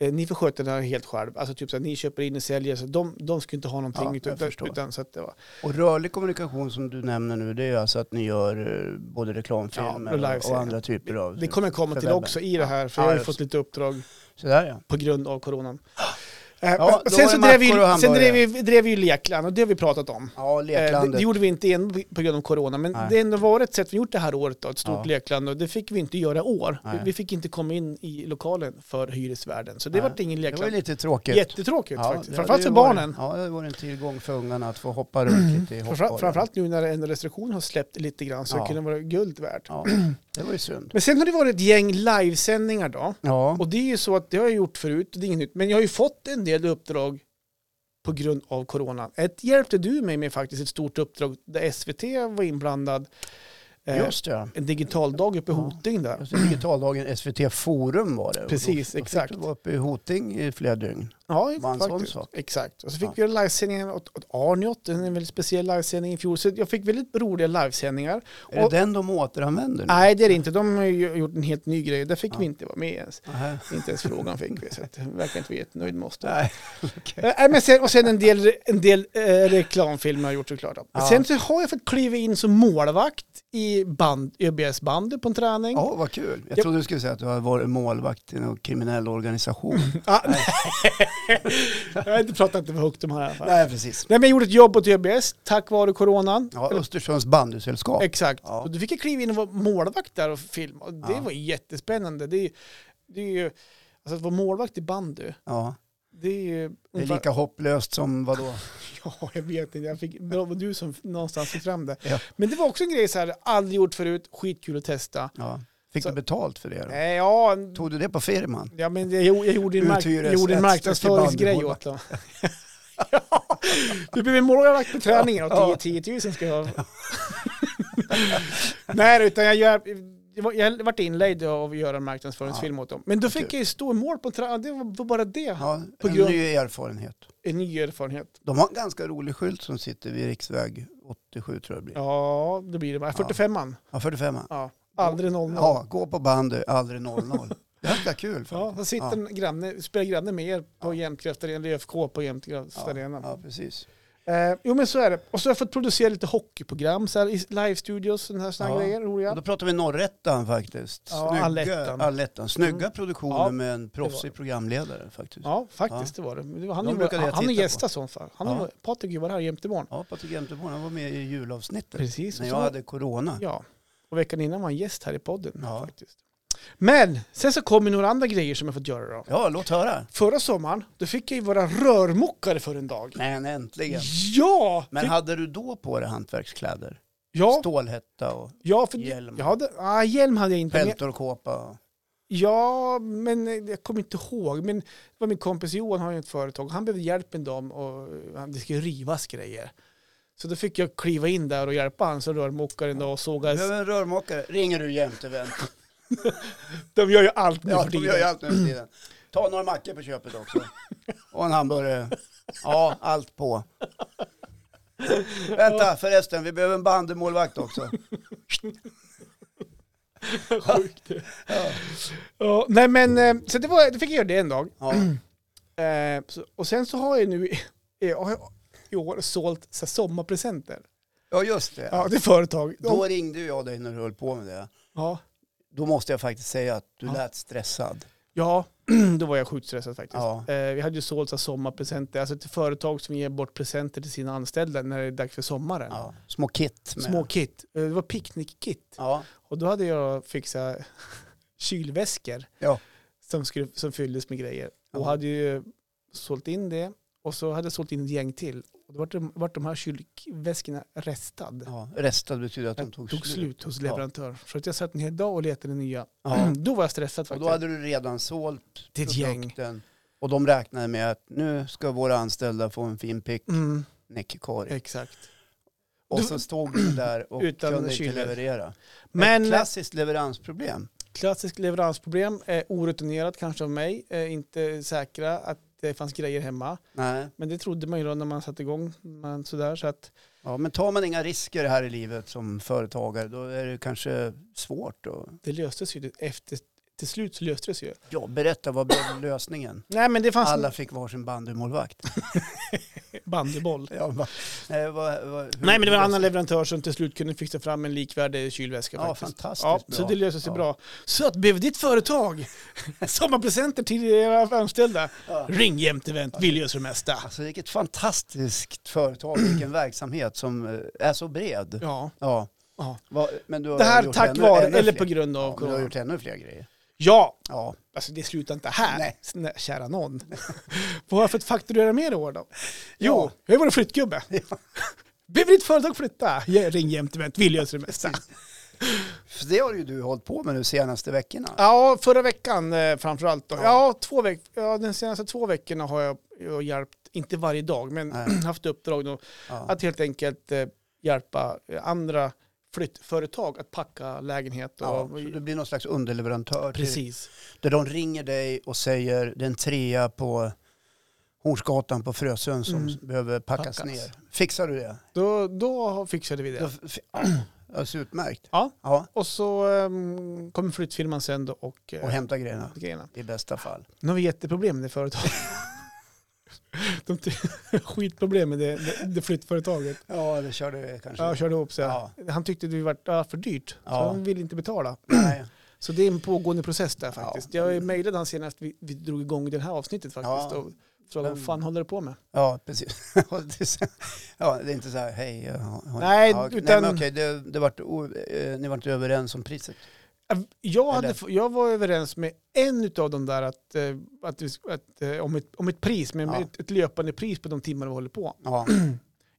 Speaker 1: eh, Ni får sköta det här helt själv. Alltså typ så att ni köper in och säljer. Så de, de skulle inte ha någonting.
Speaker 2: Ja,
Speaker 1: utan,
Speaker 2: jag förstår.
Speaker 1: utan, så att det var,
Speaker 2: Och rörlig kommunikation som du nämner nu, det är ju alltså att ni gör eh, både reklamfilmer
Speaker 1: Ja, och
Speaker 2: och, och
Speaker 1: livesändningar.
Speaker 2: andra typer av...
Speaker 1: det kommer jag komma
Speaker 2: För
Speaker 1: till
Speaker 2: webben.
Speaker 1: också i det här. För
Speaker 2: Ja,
Speaker 1: jag har ju
Speaker 2: just.
Speaker 1: fått lite uppdrag
Speaker 2: Sådär ja.
Speaker 1: på grund av coronan. Eh,
Speaker 2: Ja, då
Speaker 1: sen
Speaker 2: var
Speaker 1: så
Speaker 2: det mackor
Speaker 1: drev vi,
Speaker 2: och hamburgare.
Speaker 1: sen drev vi, drev vi ju Lekland och det har vi pratat om.
Speaker 2: Ja,
Speaker 1: Eh, det,
Speaker 2: leklandet.
Speaker 1: det gjorde vi inte igen på grund av corona, men
Speaker 2: Nej.
Speaker 1: det har ändå varit ett sätt vi gjort det här året då, ett stort
Speaker 2: Ja.
Speaker 1: lekland och det fick vi inte göra i år. Vi,
Speaker 2: Nej.
Speaker 1: vi fick inte komma in i lokalen för hyresvärden, så det
Speaker 2: Nej.
Speaker 1: vart ingen
Speaker 2: det var ju
Speaker 1: lekland.
Speaker 2: lite tråkigt.
Speaker 1: Jättetråkigt
Speaker 2: Ja,
Speaker 1: faktiskt,
Speaker 2: det
Speaker 1: framförallt
Speaker 2: hade
Speaker 1: för
Speaker 2: ju varit-
Speaker 1: barnen.
Speaker 2: Ja, det var en tillgång för ungarna att få hoppa runt
Speaker 1: (clears throat)
Speaker 2: lite i hoppborgen.
Speaker 1: Framförallt, framförallt nu när en restriktion har släppt lite grann så
Speaker 2: Ja.
Speaker 1: kan det vara guld värt.
Speaker 2: Ja, det var ju synd.
Speaker 1: (clears throat) Men sen har det varit ett gäng livesändningar då.
Speaker 2: Ja,
Speaker 1: Och det är ju så att det har jag gjort förut, det är inget nytt. Men jag har ju fått en del uppdrag på grund av corona. Ett hjälpte du mig med faktiskt, ett stort uppdrag där SVT var inblandad. Eh,
Speaker 2: just det. ja.
Speaker 1: En digital dag uppe i
Speaker 2: Ja.
Speaker 1: Hoting där.
Speaker 2: Just det, Digitaldagen SVT Forum var det. Och
Speaker 1: Precis,
Speaker 2: då, då
Speaker 1: exakt.
Speaker 2: Då var uppe i Hoting i flera dygn.
Speaker 1: Ja,
Speaker 2: var en sån
Speaker 1: faktiskt.
Speaker 2: sak.
Speaker 1: Exakt. Och så fick
Speaker 2: Ja.
Speaker 1: vi göra livesändningen åt, åt Arniot, en väldigt speciell livesändning i fjol. Så jag fick väldigt roliga livesändningar.
Speaker 2: Är
Speaker 1: Och-
Speaker 2: det den de återanvänder nu?
Speaker 1: Nej, det är det inte. De har ju gjort en helt ny grej. Där fick
Speaker 2: Ja.
Speaker 1: vi inte vara med ens.
Speaker 2: Nähä.
Speaker 1: Inte ens frågan fick vi, så att, verkar inte vi jättenöjd med oss där.
Speaker 2: Nej.
Speaker 1: Eh, Nej, men sen, och sen en del, en del eh, reklamfilmer har jag gjort såklart. då.
Speaker 2: Ja.
Speaker 1: Sen så har jag fått kliva in som målvakt i band, ÖBS bandy på en träning.
Speaker 2: Ja, vad kul. Jag
Speaker 1: Ja.
Speaker 2: trodde du skulle säga att du har varit målvakt i någon kriminell organisation.
Speaker 1: Ah, jag har inte pratat för högt om det här i alla fall. (laughs) Nej.
Speaker 2: Nej, precis.
Speaker 1: men jag gjorde ett jobb åt ÖBS tack vare coronan.
Speaker 2: Ja, Östersunds bandysällskap.
Speaker 1: Exakt.
Speaker 2: Ja.
Speaker 1: Och då fick jag kliva in och vara målvakt där och filma. Och Det
Speaker 2: Ja.
Speaker 1: var jättespännande. Det är, det är ju, alltså att vara målvakt i bandy,
Speaker 2: Ja.
Speaker 1: det är ju...
Speaker 2: Det är lika hopplöst som vadå?
Speaker 1: (laughs) Ja, jag vet inte. Jag fick, det var du som någonstans fick fram det.
Speaker 2: Ja.
Speaker 1: Men det var också en grej så här, aldrig gjort förut, skitkul att testa.
Speaker 2: Ja. Fick
Speaker 1: Så-
Speaker 2: du betalt för det? Då?
Speaker 1: Nej, ja,
Speaker 2: Tog du det på firman?
Speaker 1: ja, men jag, gjorde- jag gjorde en, mark
Speaker 2: Uthyres-
Speaker 1: jag gjorde en
Speaker 2: ett
Speaker 1: marknadsföringsgrej
Speaker 2: stycke (laughs)
Speaker 1: åt dem. ja, du blev målvakt på träningen och 10 10 000 ska jag ha. Nej, utan jag, gör, jag, var- jag varit inlejd av att göra en marknadsföringsfilm åt dem. Men då fick jag ju stå i mål på träningen, det var var bara det.
Speaker 2: Ja,
Speaker 1: På
Speaker 2: en
Speaker 1: grund-
Speaker 2: ny erfarenhet.
Speaker 1: En ny erfarenhet.
Speaker 2: De har en ganska rolig skylt som sitter vid riksväg 87 tror jag det blir.
Speaker 1: Ja, det blir det. 45an.
Speaker 2: Ja, 45. Ja,
Speaker 1: Ja, aldrig 0
Speaker 2: ja gå på bandy, aldrig
Speaker 1: (laughs)
Speaker 2: 0-0. Ganska kul
Speaker 1: Ja,
Speaker 2: faktiskt.
Speaker 1: så sitter en granne, spelar granne med er på Jämtkraft Arena, eller ÖFK på Jämtkraft Arena.
Speaker 2: Ja, precis.
Speaker 1: Eh, jo men så är det. Och så har jag fått producera lite hockeyprogram, så här, i live-studios, sådana här, såna här
Speaker 2: Ja.
Speaker 1: grejer,
Speaker 2: Och
Speaker 1: roliga.
Speaker 2: då pratar vi norrättan faktiskt.
Speaker 1: Ja, allettan. Mm.
Speaker 2: allettan. Snygga produktioner
Speaker 1: Ja,
Speaker 2: med en
Speaker 1: det var
Speaker 2: proffsig programledare faktiskt. Ja,
Speaker 1: Ja, faktiskt det var det. Men det var han
Speaker 2: De
Speaker 1: är,
Speaker 2: brukade jag
Speaker 1: han är
Speaker 2: titta på.
Speaker 1: gästa sånt fall. Han
Speaker 2: Ja.
Speaker 1: är, Patrik var här jämte imorgon.
Speaker 2: Patrik Jämteborn, han var med i julavsnittet.
Speaker 1: Precis.
Speaker 2: När
Speaker 1: Och så-
Speaker 2: jag hade corona.
Speaker 1: Ja. Och veckan innan var han gäst här i podden.
Speaker 2: Ja.
Speaker 1: faktiskt. Men sen så kom ju några andra grejer som jag fått göra då.
Speaker 2: Ja, låt höra.
Speaker 1: Förra sommaren, då fick jag ju vara rörmokare för en dag.
Speaker 2: Men äntligen.
Speaker 1: Ja!
Speaker 2: Men
Speaker 1: fick,
Speaker 2: hade du då på dig hantverkskläder?
Speaker 1: ja,
Speaker 2: Stålhätta och
Speaker 1: ja, för,
Speaker 2: hjälm.
Speaker 1: Jag hade, ah, hjälm hade jag inte. men jag-
Speaker 2: peltorkåpa? Och...
Speaker 1: Ja, men eh, jag kommer inte ihåg. Men det var min kompis Johan har ju ett företag. Han behövde hjälp med dem och eh, han- det ska ju rivas grejer. Så då fick jag kliva in där och hjälpa han som rörmokare en dag och såga.
Speaker 2: Behöver en rörmokare? Ringer du Jämtevent?
Speaker 1: De gör ju allt nu
Speaker 2: Ja,
Speaker 1: för
Speaker 2: de
Speaker 1: tiden.
Speaker 2: gör ju allt nu för tiden. Ta några mackor på köpet också. Och en hamburgare. Ja, allt på. Vänta, förresten, vi behöver en bandymålvakt också.
Speaker 1: Sjukt. Ja, nej men, eh, så det var, då fick jag göra det en dag.
Speaker 2: Ja,
Speaker 1: Eh, så- Och sen så har jag nu i- jag har i år sålt så här sommarpresenter.
Speaker 2: ja just det.
Speaker 1: Ja, det är företag. De-
Speaker 2: Då ringde ju jag dig när du höll på med det.
Speaker 1: Ja,
Speaker 2: Då måste jag faktiskt säga att du
Speaker 1: Ja.
Speaker 2: lät stressad.
Speaker 1: Ja, (clears throat) då var jag sjukt stressad faktiskt.
Speaker 2: Ja.
Speaker 1: Eh, vi hade ju sålt så här sommarpresenter, alltså till företag som ger bort presenter till sina anställda när det är dags för sommaren.
Speaker 2: Ja. Små kit. Med.
Speaker 1: Små kit, eh, det var picknickkit.
Speaker 2: Ja.
Speaker 1: Och då hade jag fixat (laughs) kylväskor
Speaker 2: Ja.
Speaker 1: som, skulle, som fylldes med grejer. Och
Speaker 2: Ja.
Speaker 1: hade ju sålt in det och så hade jag sålt in ett gäng till. Och då vart de, vart de här kylväskorna restad.
Speaker 2: ja. Restad betyder att de
Speaker 1: Tog,
Speaker 2: tog,
Speaker 1: slut. hos leverantör. Så att jag satt en hel dag och letade nya.
Speaker 2: Ja.
Speaker 1: (clears throat) Då var jag stressad
Speaker 2: Och
Speaker 1: faktiskt.
Speaker 2: då hade du redan sålt
Speaker 1: Till ett gäng.
Speaker 2: produkten. Och de räknade med att nu ska våra anställda få en fin pick.
Speaker 1: mm,
Speaker 2: näckkorg.
Speaker 1: exakt.
Speaker 2: Och
Speaker 1: Du-
Speaker 2: så stod du där och
Speaker 1: (clears throat) Utan
Speaker 2: kunde
Speaker 1: kyler.
Speaker 2: inte leverera.
Speaker 1: Men,
Speaker 2: Ett klassiskt leveransproblem.
Speaker 1: Klassiskt leveransproblem, eh, orutinerat kanske av mig, eh, inte säkra att det fanns grejer hemma.
Speaker 2: Nej.
Speaker 1: Men det trodde man ju då när man satte igång. Man, sådär, så att,
Speaker 2: Ja, men tar man inga risker här i livet som företagare då är det kanske svårt. Och...
Speaker 1: det löstes ju efter till slut så löste det sig ju.
Speaker 2: Ja, berätta, vad blev lösningen?
Speaker 1: Nej men det fanns
Speaker 2: Alla fick varsin
Speaker 1: (laughs)
Speaker 2: bandymålvakt.
Speaker 1: en bandyboll.
Speaker 2: Ja, va, nej, vad- vad- hur-
Speaker 1: Nej men det var en annan leverantör som till slut kunde fixa fram en likvärdig kylväska
Speaker 2: Ja,
Speaker 1: faktiskt.
Speaker 2: fantastiskt
Speaker 1: Ja,
Speaker 2: bra.
Speaker 1: så det löser sig
Speaker 2: Ja.
Speaker 1: bra. Så att behöver
Speaker 2: (laughs)
Speaker 1: ditt företag sommarpresenter till era anställda,
Speaker 2: Ja.
Speaker 1: ring jämt event, vi löser det mesta.
Speaker 2: Alltså vilket fantastiskt företag,
Speaker 1: (clears throat)
Speaker 2: vilken verksamhet som eh, är så bred. Ja.
Speaker 1: Ja, ja.
Speaker 2: Va, men du har
Speaker 1: Det här
Speaker 2: gjort
Speaker 1: tack
Speaker 2: ännu-
Speaker 1: vare,
Speaker 2: ännu
Speaker 1: eller
Speaker 2: fler.
Speaker 1: på grund av
Speaker 2: Ja, men du har
Speaker 1: corona.
Speaker 2: gjort ännu fler grejer.
Speaker 1: Ja,
Speaker 2: Ja,
Speaker 1: alltså det slutar inte här,
Speaker 2: Nej.
Speaker 1: Snä- kära någon. (laughs) Vad har jag för att fakturera mer i år då? Jo, jag har
Speaker 2: (laughs)
Speaker 1: varit flyttgubbe. Behöver ditt företag flytta? Ja, Ring jämt event, vi löser det mesta.
Speaker 2: för det har ju du hållit på med de senaste veckorna.
Speaker 1: Ja, förra veckan eh, framförallt. Då.
Speaker 2: Ja.
Speaker 1: Ja. två veck- ja, de senaste två veckorna har jag, jag hjälpt, inte varje dag, men
Speaker 2: Nej.
Speaker 1: (clears throat) haft uppdrag då,
Speaker 2: Ja.
Speaker 1: att helt enkelt eh, hjälpa eh, andra flyttföretag att packa lägenhet. Och,
Speaker 2: Ja, så du blir någon slags underleverantör. till-
Speaker 1: Precis.
Speaker 2: Där de ringer dig och säger den trea på Hornsgatan på Frösön som
Speaker 1: Mm.
Speaker 2: behöver packas,
Speaker 1: Packas.
Speaker 2: ner. Fixar du det?
Speaker 1: Då, då fixade vi det.
Speaker 2: Ja. Alltså utmärkt.
Speaker 1: Ja.
Speaker 2: ja.
Speaker 1: Och så um, kommer flyttfirman sen då och, eh,
Speaker 2: Och hämta grejerna
Speaker 1: grejerna.
Speaker 2: i bästa fall.
Speaker 1: Nu har vi jätteproblem med det företaget. (laughs) De ty- (laughs) skitproblem med det, det, det flyttföretaget.
Speaker 2: Ja, eller kör du kanske.
Speaker 1: Jag körde ihop så
Speaker 2: Ja.
Speaker 1: Han tyckte det var ja, för dyrt, så
Speaker 2: Ja.
Speaker 1: han ville inte betala.
Speaker 2: Nej.
Speaker 1: Så det är en pågående process där faktiskt.
Speaker 2: Ja.
Speaker 1: Jag mejlade han senast vi, vi drog igång det här avsnittet faktiskt
Speaker 2: Ja.
Speaker 1: och frågade vad fan håller du på med?
Speaker 2: Ja, precis. (laughs) Och det är så- ja, det är inte så här, hej. jag har- har-
Speaker 1: Nej,
Speaker 2: ja, okej. Nej,
Speaker 1: utan-
Speaker 2: men okej, det, det vart, o- eh, ni var inte överens om priset.
Speaker 1: Äh, Jag, hade,
Speaker 2: Eller?
Speaker 1: f- jag var överens med en av de där att, eh, att, vi sk- att, eh, om, ett, om ett pris, men
Speaker 2: Ja.
Speaker 1: ett, ett löpande pris på de timmar vi håller på. (clears throat)
Speaker 2: Ja.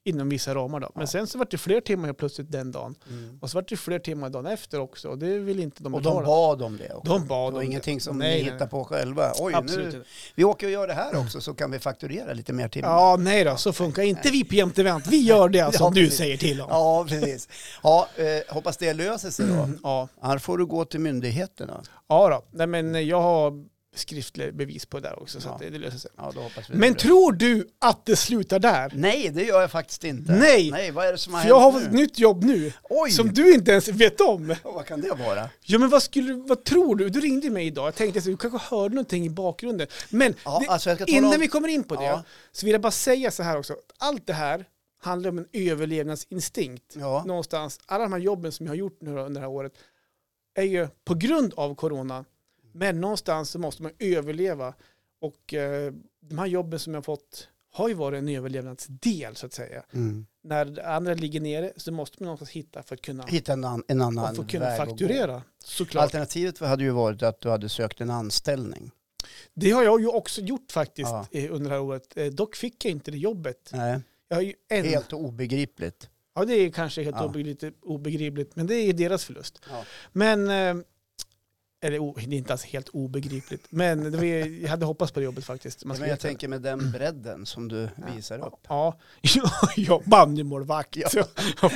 Speaker 1: Inom vissa ramar då. Men
Speaker 2: Ja.
Speaker 1: sen så var det fler timmar helt plötsligt den dagen.
Speaker 2: Mm.
Speaker 1: Och så var det fler timmar dagen efter också. Och det ville inte de
Speaker 2: Och
Speaker 1: betala.
Speaker 2: de bad om det också.
Speaker 1: de bad
Speaker 2: Det var
Speaker 1: om
Speaker 2: ingenting som
Speaker 1: Nej,
Speaker 2: ni
Speaker 1: nej,
Speaker 2: hittar på själva. Oj,
Speaker 1: Absolut
Speaker 2: nu,
Speaker 1: inte.
Speaker 2: vi åker och gör det här också så kan vi fakturera lite mer timmar.
Speaker 1: Ja, nej då, så funkar inte vi på Jämt Event. Vi gör det som
Speaker 2: (laughs) Ja,
Speaker 1: du
Speaker 2: precis.
Speaker 1: säger till om. Ja.
Speaker 2: Ja, precis. Ja, eh, hoppas det löser sig då.
Speaker 1: Ja.
Speaker 2: Här får du gå till myndigheterna.
Speaker 1: då. Nej, men jag har skriftlig bevis på det där också, så
Speaker 2: Ja.
Speaker 1: att det, det löser sig.
Speaker 2: Ja, då hoppas vi
Speaker 1: Men
Speaker 2: det.
Speaker 1: tror du att det slutar där?
Speaker 2: Nej, det gör jag faktiskt inte.
Speaker 1: Nej.
Speaker 2: Nej, vad är det som har
Speaker 1: För jag har
Speaker 2: hänt
Speaker 1: fått ett
Speaker 2: nu?
Speaker 1: nytt jobb nu,
Speaker 2: Oj,
Speaker 1: som du inte ens vet om.
Speaker 2: vad kan det vara?
Speaker 1: Ja, men vad, skulle, vad tror du? Du ringde mig idag, jag tänkte att du kanske hörde någonting i bakgrunden. Men
Speaker 2: Ja,
Speaker 1: det,
Speaker 2: alltså jag ska tala
Speaker 1: innan
Speaker 2: om-
Speaker 1: vi kommer in på det,
Speaker 2: Ja.
Speaker 1: så vill jag bara säga så här också. Allt det här handlar om en överlevnadsinstinkt.
Speaker 2: Ja,
Speaker 1: någonstans, alla de här jobben som jag har gjort nu under det här året är ju på grund av corona. Men någonstans så måste man överleva. Och eh, de här jobben som jag har fått har ju varit en överlevnadsdel så att säga.
Speaker 2: mm.
Speaker 1: När det andra ligger nere så måste man någonstans hitta för att kunna,
Speaker 2: hitta en, an, en annan
Speaker 1: och för att kunna
Speaker 2: väg att gå.
Speaker 1: fakturera. Såklart.
Speaker 2: Alternativet hade ju varit att du hade sökt en anställning.
Speaker 1: Det har jag ju också gjort faktiskt
Speaker 2: Ja.
Speaker 1: eh, under det här året. Eh, dock fick jag inte det jobbet.
Speaker 2: Nej,
Speaker 1: Jag har ju en,
Speaker 2: helt obegripligt.
Speaker 1: Ja, det är kanske helt
Speaker 2: Ja.
Speaker 1: obegripligt, obegripligt, men det är deras förlust.
Speaker 2: Ja.
Speaker 1: Men, eh, eller o- det är inte alls helt obegripligt, men det var, jag hade hoppats på det jobbet faktiskt.
Speaker 2: Men
Speaker 1: skulle
Speaker 2: jag
Speaker 1: veta det.
Speaker 2: tänker med den bredden som du visar upp.
Speaker 1: Ja, (laughs) ja bandymålvakt,
Speaker 2: Ja.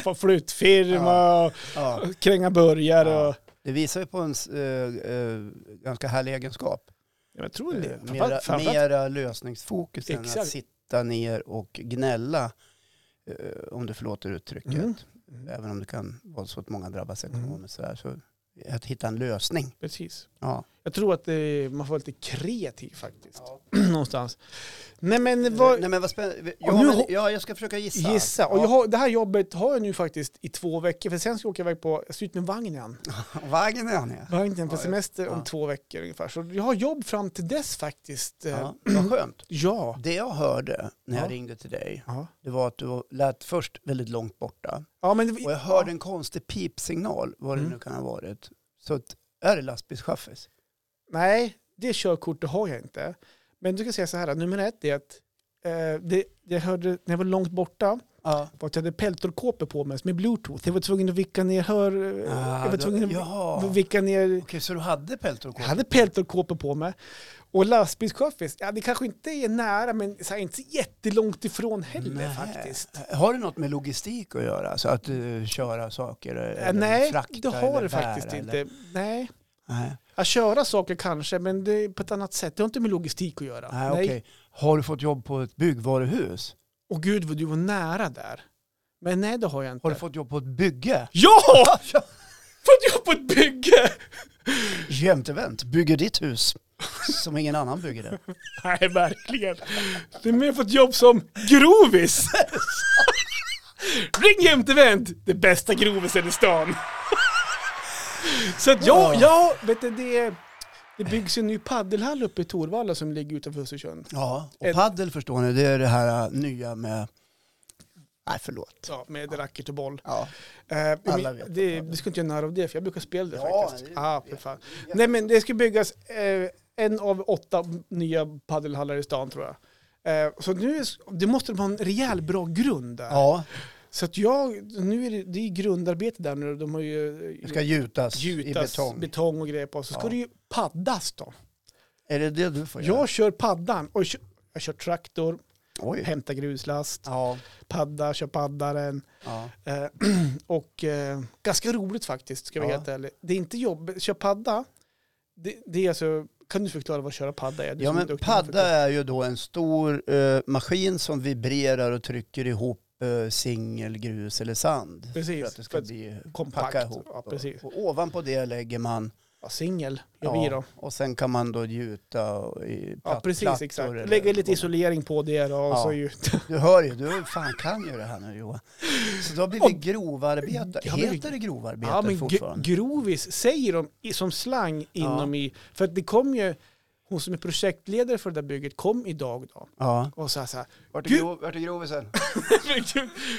Speaker 1: ja. flyttfirma,
Speaker 2: Ja,
Speaker 1: och kränga burgare
Speaker 2: Ja.
Speaker 1: och...
Speaker 2: det visar ju på en eh, eh, ganska härlig egenskap.
Speaker 1: Ja, Jag tror det.
Speaker 2: Eh,
Speaker 1: Framför-
Speaker 2: Mera,
Speaker 1: framförallt-
Speaker 2: mera lösningsfokus än att
Speaker 1: Exakt.
Speaker 2: sitta ner och gnälla, eh, om du förlåter uttrycket.
Speaker 1: Mm. Mm.
Speaker 2: Även om det kan vara så att många drabbas
Speaker 1: Mm.
Speaker 2: ekonomiskt. sådär, Så att hitta en lösning.
Speaker 1: Precis.
Speaker 2: Ja.
Speaker 1: Jag tror att eh, man får vara lite kreativ faktiskt, (clears throat) någonstans. Nej men vad,
Speaker 2: Nej, men vad spännande. Ja,
Speaker 1: Och nu
Speaker 2: men,
Speaker 1: ho-
Speaker 2: ja, jag ska försöka gissa.
Speaker 1: Gissa. Och
Speaker 2: Ja.
Speaker 1: jag har, det här jobbet har jag nu faktiskt i två veckor, för sen ska jag åka iväg på, jag ska ut med vagnen.
Speaker 2: Vagnen är han ja.
Speaker 1: Vagnen på
Speaker 2: Ja,
Speaker 1: semester om
Speaker 2: ja.
Speaker 1: två veckor ungefär. Så jag har jobb fram till dess faktiskt. Eh,
Speaker 2: ja. Vad skönt.
Speaker 1: Ja.
Speaker 2: Det jag hörde när jag
Speaker 1: Ja.
Speaker 2: ringde till dig,
Speaker 1: Ja.
Speaker 2: det var att du lät först väldigt långt borta.
Speaker 1: Ja, men det,
Speaker 2: Och jag hörde en konstig pipsignal, vad det
Speaker 1: Mm.
Speaker 2: nu kan ha varit. Så att, är det lastbilschaffis?
Speaker 1: Nej, det körkortet har jag inte. Men du kan säga så här, nummer ett är att eh, det, jag hörde när jag var långt borta
Speaker 2: Ja.
Speaker 1: var att jag hade peltorkåpor på mig med bluetooth. Jag var tvungen att vicka ner hör...
Speaker 2: Ah,
Speaker 1: jag
Speaker 2: då-
Speaker 1: var tvungen att
Speaker 2: jaha.
Speaker 1: vicka ner...
Speaker 2: Okej, så du hade peltor och
Speaker 1: Jag
Speaker 2: kåpa?
Speaker 1: hade peltorkåpor på mig. Och lastbilschaffis, ja det kanske inte är nära men så här, inte så jättelångt ifrån heller
Speaker 2: Nej.
Speaker 1: faktiskt.
Speaker 2: Har det något med logistik att göra? Så att eh, köra saker eh, eller
Speaker 1: Äh, Nej,
Speaker 2: frakta
Speaker 1: det
Speaker 2: eller
Speaker 1: har det
Speaker 2: bära
Speaker 1: faktiskt
Speaker 2: eller?
Speaker 1: inte. Nej.
Speaker 2: Nej,
Speaker 1: Att köra saker kanske, men det är på ett annat sätt. Det har inte med logistik att göra.
Speaker 2: Nej, okej. Har du fått jobb på ett byggvaruhus?
Speaker 1: Och gud vad du var nära där. Men nej, det har jag inte. (laughs)
Speaker 2: Har du fått jobb på ett bygge?
Speaker 1: Ja! För att jag var på ett bygge!
Speaker 2: Jämtevent bygger ditt hus som ingen annan bygger
Speaker 1: (laughs)
Speaker 2: det.
Speaker 1: Nej, verkligen. Du är med på ett jobb som grovis. (laughs) Ring Jämtevent, det bästa grovisen i stan. (laughs) Så att ja, ja, vet du, det, det byggs en ny paddelhall uppe i Torvalla som ligger utanför Östersund.
Speaker 2: Ja, och
Speaker 1: Ett-
Speaker 2: paddel förstår ni, det är det här äh, nya med... Nej, förlåt.
Speaker 1: Ja, med racket och boll.
Speaker 2: Ja,
Speaker 1: Eh,
Speaker 2: Alla
Speaker 1: men
Speaker 2: vet
Speaker 1: det,
Speaker 2: vad det
Speaker 1: vi ska inte göra narr av det, för jag brukar spela det
Speaker 2: Ja,
Speaker 1: faktiskt.
Speaker 2: det-
Speaker 1: Ah, för fan. Nej, men det ska byggas eh, en av åtta nya paddelhallar i stan, tror jag. Eh, så nu är, det måste vara en rejäl bra grund där.
Speaker 2: ja
Speaker 1: Så att jag, nu är det, det är grundarbete där nu. De har ju
Speaker 2: det
Speaker 1: eh,
Speaker 2: ska gjutas, i
Speaker 1: gjutas
Speaker 2: betong.
Speaker 1: och grejer på. Så ska
Speaker 2: Ja.
Speaker 1: det ju paddas då.
Speaker 2: är det det du får göra?
Speaker 1: Jag kör paddan och kö- jag kör traktor,
Speaker 2: Oj.
Speaker 1: hämtar gruslast,
Speaker 2: Ja,
Speaker 1: padda, kör paddaren.
Speaker 2: ja.
Speaker 1: Eh, (clears throat) och eh, ganska roligt faktiskt, ska jag vara
Speaker 2: Ja.
Speaker 1: helt ärlig. Det är inte jobbigt. Köra padda, det, det är alltså... Kan du förklara vad köra padda är? Du
Speaker 2: ja
Speaker 1: som är
Speaker 2: men
Speaker 1: duktig på att
Speaker 2: padda
Speaker 1: förklara.
Speaker 2: är ju då en stor eh, maskin som vibrerar och trycker ihop eh, singel, grus eller sand.
Speaker 1: Precis,
Speaker 2: För att det
Speaker 1: för
Speaker 2: ska
Speaker 1: att
Speaker 2: bli
Speaker 1: kompakt.
Speaker 2: packa ihop.
Speaker 1: Ja, precis.
Speaker 2: Och, och ovanpå det lägger man
Speaker 1: Ja, singel, gör vi då.
Speaker 2: och sen kan man då gjuta i platt,
Speaker 1: Ja, precis,
Speaker 2: plattor
Speaker 1: exakt.
Speaker 2: eller-
Speaker 1: Lägger lite isolering på det då, och
Speaker 2: Ja.
Speaker 1: så gjut.
Speaker 2: Du hör ju, du fan kan ju det här nu Johan. Så då blir vi grovarbetare.
Speaker 1: Ja, men-
Speaker 2: Heter det grovarbetare
Speaker 1: Ja, men gr-
Speaker 2: fortfarande?
Speaker 1: grovis säger de i- som slang inom i... För att det kom ju... Hon som är projektledare för det där bygget kom idag då.
Speaker 2: ja.
Speaker 1: Och sa så här... (laughs)
Speaker 2: Vart
Speaker 1: är grov-
Speaker 2: är grovisen?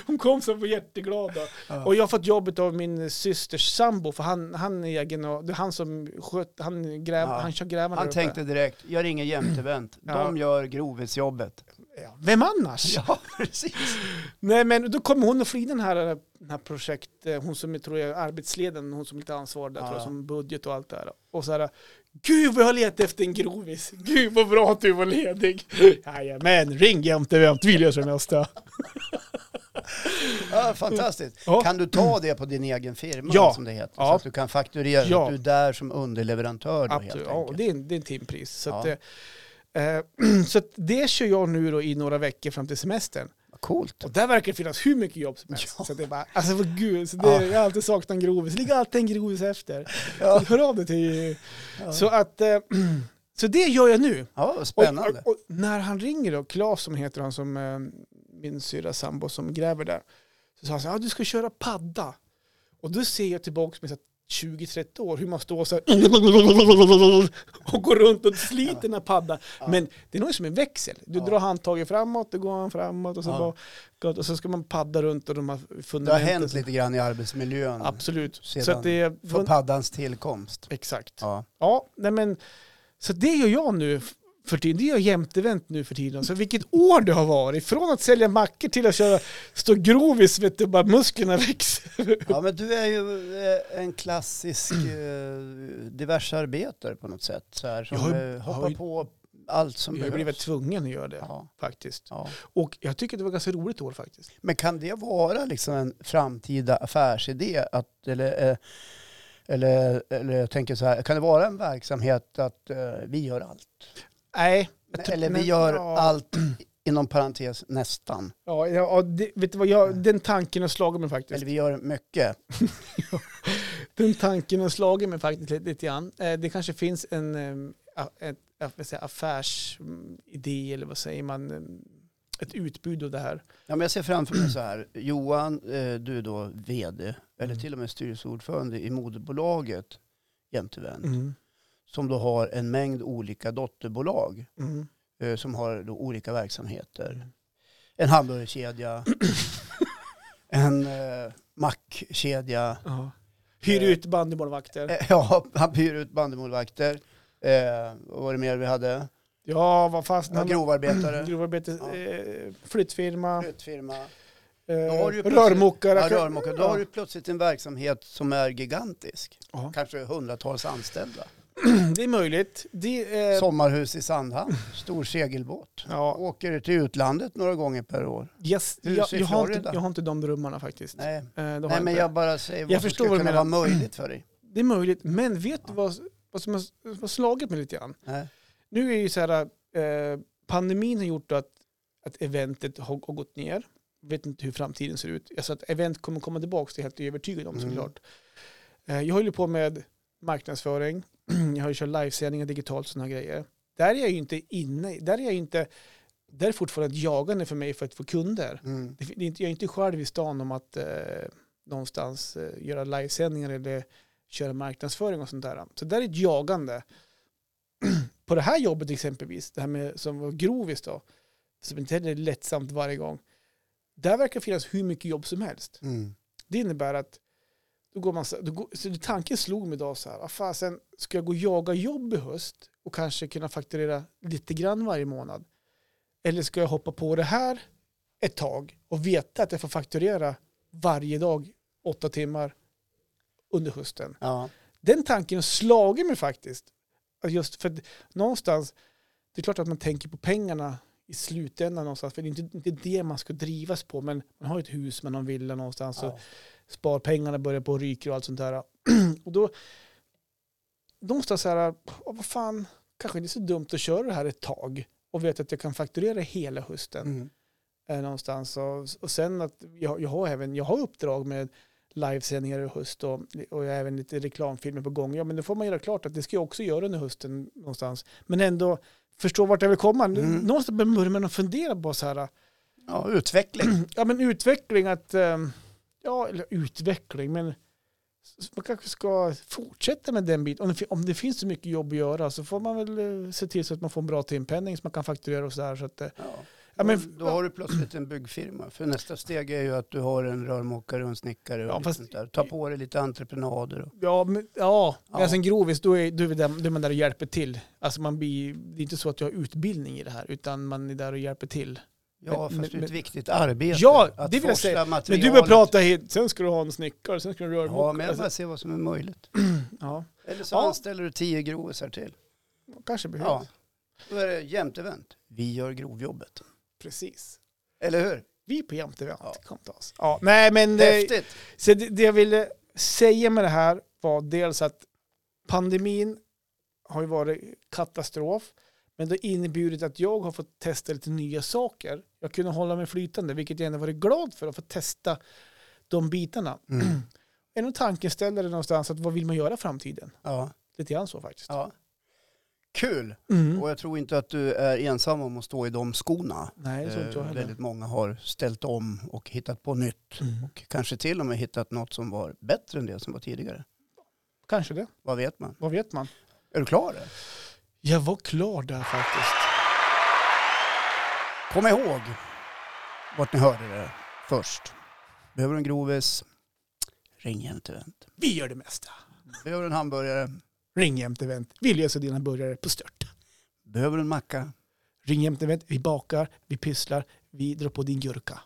Speaker 1: hon kom så här och var jätteglad då.
Speaker 2: Ja.
Speaker 1: Och jag har fått jobbet av min systers sambo för han, han är egen och det är han som sköt, han, gräv,
Speaker 2: Ja.
Speaker 1: han kör grävarna där
Speaker 2: Han
Speaker 1: uppe.
Speaker 2: tänkte direkt, jag ringer jämtevent.
Speaker 1: Ja.
Speaker 2: De gör grovisjobbet.
Speaker 1: (laughs) Ja, Vem annars?
Speaker 2: Ja, precis.
Speaker 1: Nej men då kommer hon och Frida den här, den här projekt, eh, hon som jag tror är arbetsledaren, hon som är lite ansvarig där,
Speaker 2: Ja,
Speaker 1: tror jag,
Speaker 2: ja.
Speaker 1: som budget och allt det här. Och så här, gud vad jag letar efter en grovis, gud vad bra att du
Speaker 2: (laughs)
Speaker 1: var ledig. Jajamän, ring jämte vämt, vill jag som jag ska.
Speaker 2: Ja, fantastiskt.
Speaker 1: Ja.
Speaker 2: Kan du ta det på din egen firma
Speaker 1: Ja.
Speaker 2: som det heter? Så
Speaker 1: Ja.
Speaker 2: att du kan fakturera,
Speaker 1: Ja.
Speaker 2: att du är där som underleverantör då,
Speaker 1: Absolut,
Speaker 2: helt
Speaker 1: ja, och
Speaker 2: enkelt.
Speaker 1: det är en, det är en timpris. Så,
Speaker 2: Ja.
Speaker 1: att, eh, eh, (clears throat) så att det kör jag nu då i några veckor fram till semestern.
Speaker 2: Vad Coolt.
Speaker 1: Och där verkar det finnas hur mycket jobb som helst.
Speaker 2: Ja.
Speaker 1: Så att det är bara, alltså vad gud, så det,
Speaker 2: Ja.
Speaker 1: jag har alltid saknat en grovis. Det ligger alltid en grovis efter.
Speaker 2: Ja.
Speaker 1: Så hör av dig till...
Speaker 2: Ja.
Speaker 1: Så att, eh, (clears throat) så det gör jag nu.
Speaker 2: Ja, vad
Speaker 1: Och,
Speaker 2: spännande.
Speaker 1: och, och när han ringer då, Claes som heter han som eh, min syrra sambo som gräver där. Så sa han så här, ah, du ska köra padda. Och då ser jag tillbaka med så här 20-30 år hur man står så här (laughs) och går runt och sliter den här paddan. Men det är nog som en växel. Du
Speaker 2: Ja.
Speaker 1: drar handtaget framåt, då går han framåt och så,
Speaker 2: Ja.
Speaker 1: bara, gott, och så ska man padda runt och de här
Speaker 2: Det har
Speaker 1: fundamenten.
Speaker 2: hänt lite grann i arbetsmiljön
Speaker 1: Absolut. Så
Speaker 2: Sedan-
Speaker 1: att det är...
Speaker 2: för paddans tillkomst.
Speaker 1: Exakt.
Speaker 2: Ja.
Speaker 1: Ja, nej men, så det gör jag nu f- för tiden. Det gör jämtevent nu för tiden. Så vilket år det har varit. Från att sälja mackor till att köra stå grovis, vet du, bara musklerna (laughs) växer.
Speaker 2: Ja, men du är ju eh, en klassisk eh, diversarbetare på något sätt. Så här, som
Speaker 1: Jag har ju-
Speaker 2: eh, hoppar
Speaker 1: har ju-
Speaker 2: på allt som
Speaker 1: Jag har
Speaker 2: behövs.
Speaker 1: blivit tvungen att göra det,
Speaker 2: ja,
Speaker 1: faktiskt.
Speaker 2: ja.
Speaker 1: Och jag tycker det var ganska roligt år faktiskt.
Speaker 2: Men kan det vara liksom en framtida affärsidé? Att, eller, eh, eller, eller jag tänker så här, kan det vara en verksamhet att eh, vi gör allt?
Speaker 1: Nej. jag tror-
Speaker 2: Eller vi
Speaker 1: nej,
Speaker 2: gör
Speaker 1: ja,
Speaker 2: allt inom parentes nästan.
Speaker 1: Ja, ja, ja, det, vet du vad, jag, den tanken har slagit mig faktiskt.
Speaker 2: Eller vi gör mycket.
Speaker 1: Den tanken har slagit mig faktiskt lite, lite grann. Eh, det kanske finns en eh, a- ett, jag vill säga, affärsidé eller vad säger man, eh, ett utbud av det här.
Speaker 2: Ja, men jag ser framför mig så här, Johan, eh, du är då vd, eller
Speaker 1: Mm.
Speaker 2: till och med styrelseordförande i moderbolaget Jämtevent,
Speaker 1: Mm.
Speaker 2: som då har en mängd olika dotterbolag
Speaker 1: Mm.
Speaker 2: eh, som har då olika verksamheter. En hamburgerkedja, en eh, mackkedja,
Speaker 1: Ja. Hyr
Speaker 2: Eh,
Speaker 1: ut bandymålvakter.
Speaker 2: eh, ja, han hyr ut bandymålvakter, eh, vad var det mer vi hade?
Speaker 1: Ja, vad fast.
Speaker 2: Ja,
Speaker 1: (clears throat)
Speaker 2: grovarbetare,
Speaker 1: Grovarbete,
Speaker 2: Ja.
Speaker 1: eh, flyttfirma,
Speaker 2: flyttfirma.
Speaker 1: eh,
Speaker 2: Då har du ju plötsligt-
Speaker 1: rörmokare.
Speaker 2: Ja, rörmokare. Då har
Speaker 1: Ja.
Speaker 2: du plötsligt en verksamhet som är gigantisk.
Speaker 1: Ja.
Speaker 2: Kanske hundratals anställda.
Speaker 1: (clears throat) Det är möjligt. Det, eh,
Speaker 2: Sommarhus i Sandhamn, stor segelbåt.
Speaker 1: ja,
Speaker 2: Åker till utlandet några gånger per år.
Speaker 1: yes,
Speaker 2: Hus
Speaker 1: jag,
Speaker 2: i
Speaker 1: jag, har inte,
Speaker 2: Florida.
Speaker 1: jag har inte de drömmarna faktiskt. Eh,
Speaker 2: Nej,
Speaker 1: det, har
Speaker 2: Nej
Speaker 1: jag
Speaker 2: men
Speaker 1: inte.
Speaker 2: jag bara säger vad som
Speaker 1: förstår
Speaker 2: skulle
Speaker 1: vad du
Speaker 2: kunna vara
Speaker 1: menar.
Speaker 2: möjligt för dig.
Speaker 1: det är möjligt, men vet du vad, vad som har vad slagit mig lite grann?
Speaker 2: Nej.
Speaker 1: Nu är ju så här, eh, pandemin har gjort att, att eventet har, har gått ner. Vet inte hur framtiden ser ut. Alltså att event kommer komma tillbaka, det är jag helt övertygad om
Speaker 2: Mm.
Speaker 1: såklart. Eh, jag höll ju på med marknadsföring. (clears throat) Jag har ju kört livesändningar digitalt och sådana grejer. Där är jag ju inte inne, i- där är jag inte, där är fortfarande ett jagande för mig för att få kunder.
Speaker 2: Mm.
Speaker 1: Det, det är inte, jag är inte själv i stan om att eh, någonstans eh, göra livesändningar eller köra marknadsföring och sånt där. Så där är ett jagande. (clears throat) På det här jobbet exempelvis, det här med som var grovis då, som inte heller är lättsamt varje gång. Där verkar finnas hur mycket jobb som helst.
Speaker 2: Mm.
Speaker 1: Det innebär att då går man så, då går, så tanken slog mig idag så här, vad fasen, ska jag gå och jaga jobb i höst och kanske kunna fakturera lite grann varje månad? Eller ska jag hoppa på det här ett tag och veta att jag får fakturera varje dag åtta timmar under hösten?
Speaker 2: Ja.
Speaker 1: Den tanken har slagit mig faktiskt. Att Just för att någonstans, det är klart att man tänker på pengarna i slutändan någonstans, för det är inte, inte det man ska drivas på, men man har ju ett hus, man har en villa någonstans. Och
Speaker 2: ja.
Speaker 1: sparpengarna börjar på och ryker och allt sånt där. (clears throat) och då någonstans så här, "Åh, vad fan, kanske inte är så dumt att köra det här ett tag och veta att jag kan fakturera hela hösten
Speaker 2: Mm.
Speaker 1: eh, någonstans. Och, och sen att jag, jag har även, jag har uppdrag med livesändningar i höst och, och jag har även lite reklamfilmer på gång. Ja, men då får man göra klart att det ska jag också göra under hösten någonstans. Men ändå förstå vart jag vill komma.
Speaker 2: Mm.
Speaker 1: Någonstans börjar man fundera på så här,
Speaker 2: ja, utveckling.
Speaker 1: ja, men utveckling att, ehm, ja, eller utveckling, men s- man kanske ska fortsätta med den biten. Om det, fi- om det finns så mycket jobb att göra så får man väl eh, se till så att man får en bra timpenning så man kan fakturera och sådär. Så att, eh,
Speaker 2: Ja. Då-
Speaker 1: ja, men,
Speaker 2: då har du plötsligt en byggfirma. För nästa steg är ju att du har en rörmokare och en snickare och
Speaker 1: Ja,
Speaker 2: lite
Speaker 1: fast-
Speaker 2: sånt där. Ta på dig lite entreprenader. Och...
Speaker 1: ja, men, ja,
Speaker 2: Ja.
Speaker 1: men alltså en grovis, då är, då, är vi där, då är man där och hjälper till. Alltså man blir, det är inte så att jag har utbildning i det här, utan man är där och hjälper till.
Speaker 2: Ja,
Speaker 1: Men-
Speaker 2: fast det är
Speaker 1: men-
Speaker 2: ett viktigt arbete.
Speaker 1: Ja,
Speaker 2: att
Speaker 1: det vill jag
Speaker 2: forsla
Speaker 1: säga. Men
Speaker 2: materialet.
Speaker 1: du börjar prata hit, sen ska du ha en snickare, sen ska du rörmokare.
Speaker 2: Ja, men jag
Speaker 1: alltså,
Speaker 2: bara se vad som är möjligt.
Speaker 1: ja,
Speaker 2: Eller så
Speaker 1: Ja.
Speaker 2: anställer du tio grovesar till.
Speaker 1: kanske behövs.
Speaker 2: Ja. Då är det jämnt event. Vi gör grovjobbet.
Speaker 1: Precis.
Speaker 2: Eller hur?
Speaker 1: Vi på Jämtevent,
Speaker 2: Ja.
Speaker 1: kom till oss. Ja, nej, men eh, det,
Speaker 2: Häftigt.
Speaker 1: så det, det jag ville säga med det här var dels att pandemin har ju varit katastrof, men det har inneburit att jag har fått testa lite nya saker. Jag kunde hålla mig flytande, vilket jag ändå varit glad för, att få testa de bitarna.
Speaker 2: Mm.
Speaker 1: En av tankeställare någonstans, att vad vill man göra i framtiden?
Speaker 2: (clears throat) Ja,
Speaker 1: Lite grann så faktiskt.
Speaker 2: ja. Kul.
Speaker 1: Mm.
Speaker 2: Och jag tror inte att du är ensam om att stå i de skorna.
Speaker 1: Nej, det tror inte jag
Speaker 2: Eh,
Speaker 1: heller.
Speaker 2: Väldigt många har ställt om och hittat på nytt.
Speaker 1: Mm.
Speaker 2: Och kanske till och med hittat något som var bättre än det som var tidigare.
Speaker 1: Kanske det,
Speaker 2: Vad vet man?
Speaker 1: vad vet man?
Speaker 2: Är du klar? Eller?
Speaker 1: Jag var klar där faktiskt.
Speaker 2: Kom ihåg vart ni hörde det först. Behöver du en grovis? Ring Jämtevent.
Speaker 1: Vi gör det mesta.
Speaker 2: Behöver du en hamburgare?
Speaker 1: Ring Jämtevent. Vi löser dina burgare på stört.
Speaker 2: Behöver du en macka?
Speaker 1: Ring Jämtevent. Vi bakar, vi pysslar, vi drar på din gurka.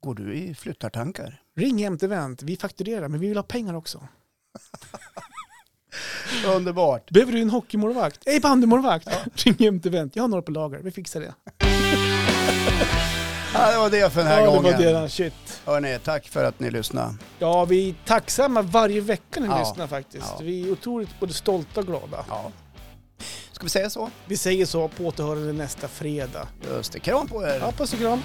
Speaker 2: Går du i flyttartankar?
Speaker 1: Ring Jämtevent. Vi fakturerar, men vi vill ha pengar också.
Speaker 2: Underbart.
Speaker 1: Behöver du en hockeymålvakt? Nej, bandymålvakt. (laughs) Ring Jämtevent. Jag har några på lager. Vi fixar det.
Speaker 2: Ja, det var det för den här
Speaker 1: ja, det var
Speaker 2: gången.
Speaker 1: det. Shit.
Speaker 2: Hörni, tack för att ni lyssnade.
Speaker 1: Ja, vi är tacksamma varje vecka när vi
Speaker 2: Ja.
Speaker 1: lyssnar faktiskt.
Speaker 2: Ja.
Speaker 1: Vi är otroligt både stolta och glada.
Speaker 2: Ja. Ska vi säga så?
Speaker 1: Vi säger så på återhörande nästa fredag.
Speaker 2: Just det. Kram på er.
Speaker 1: Ja, puss och kram.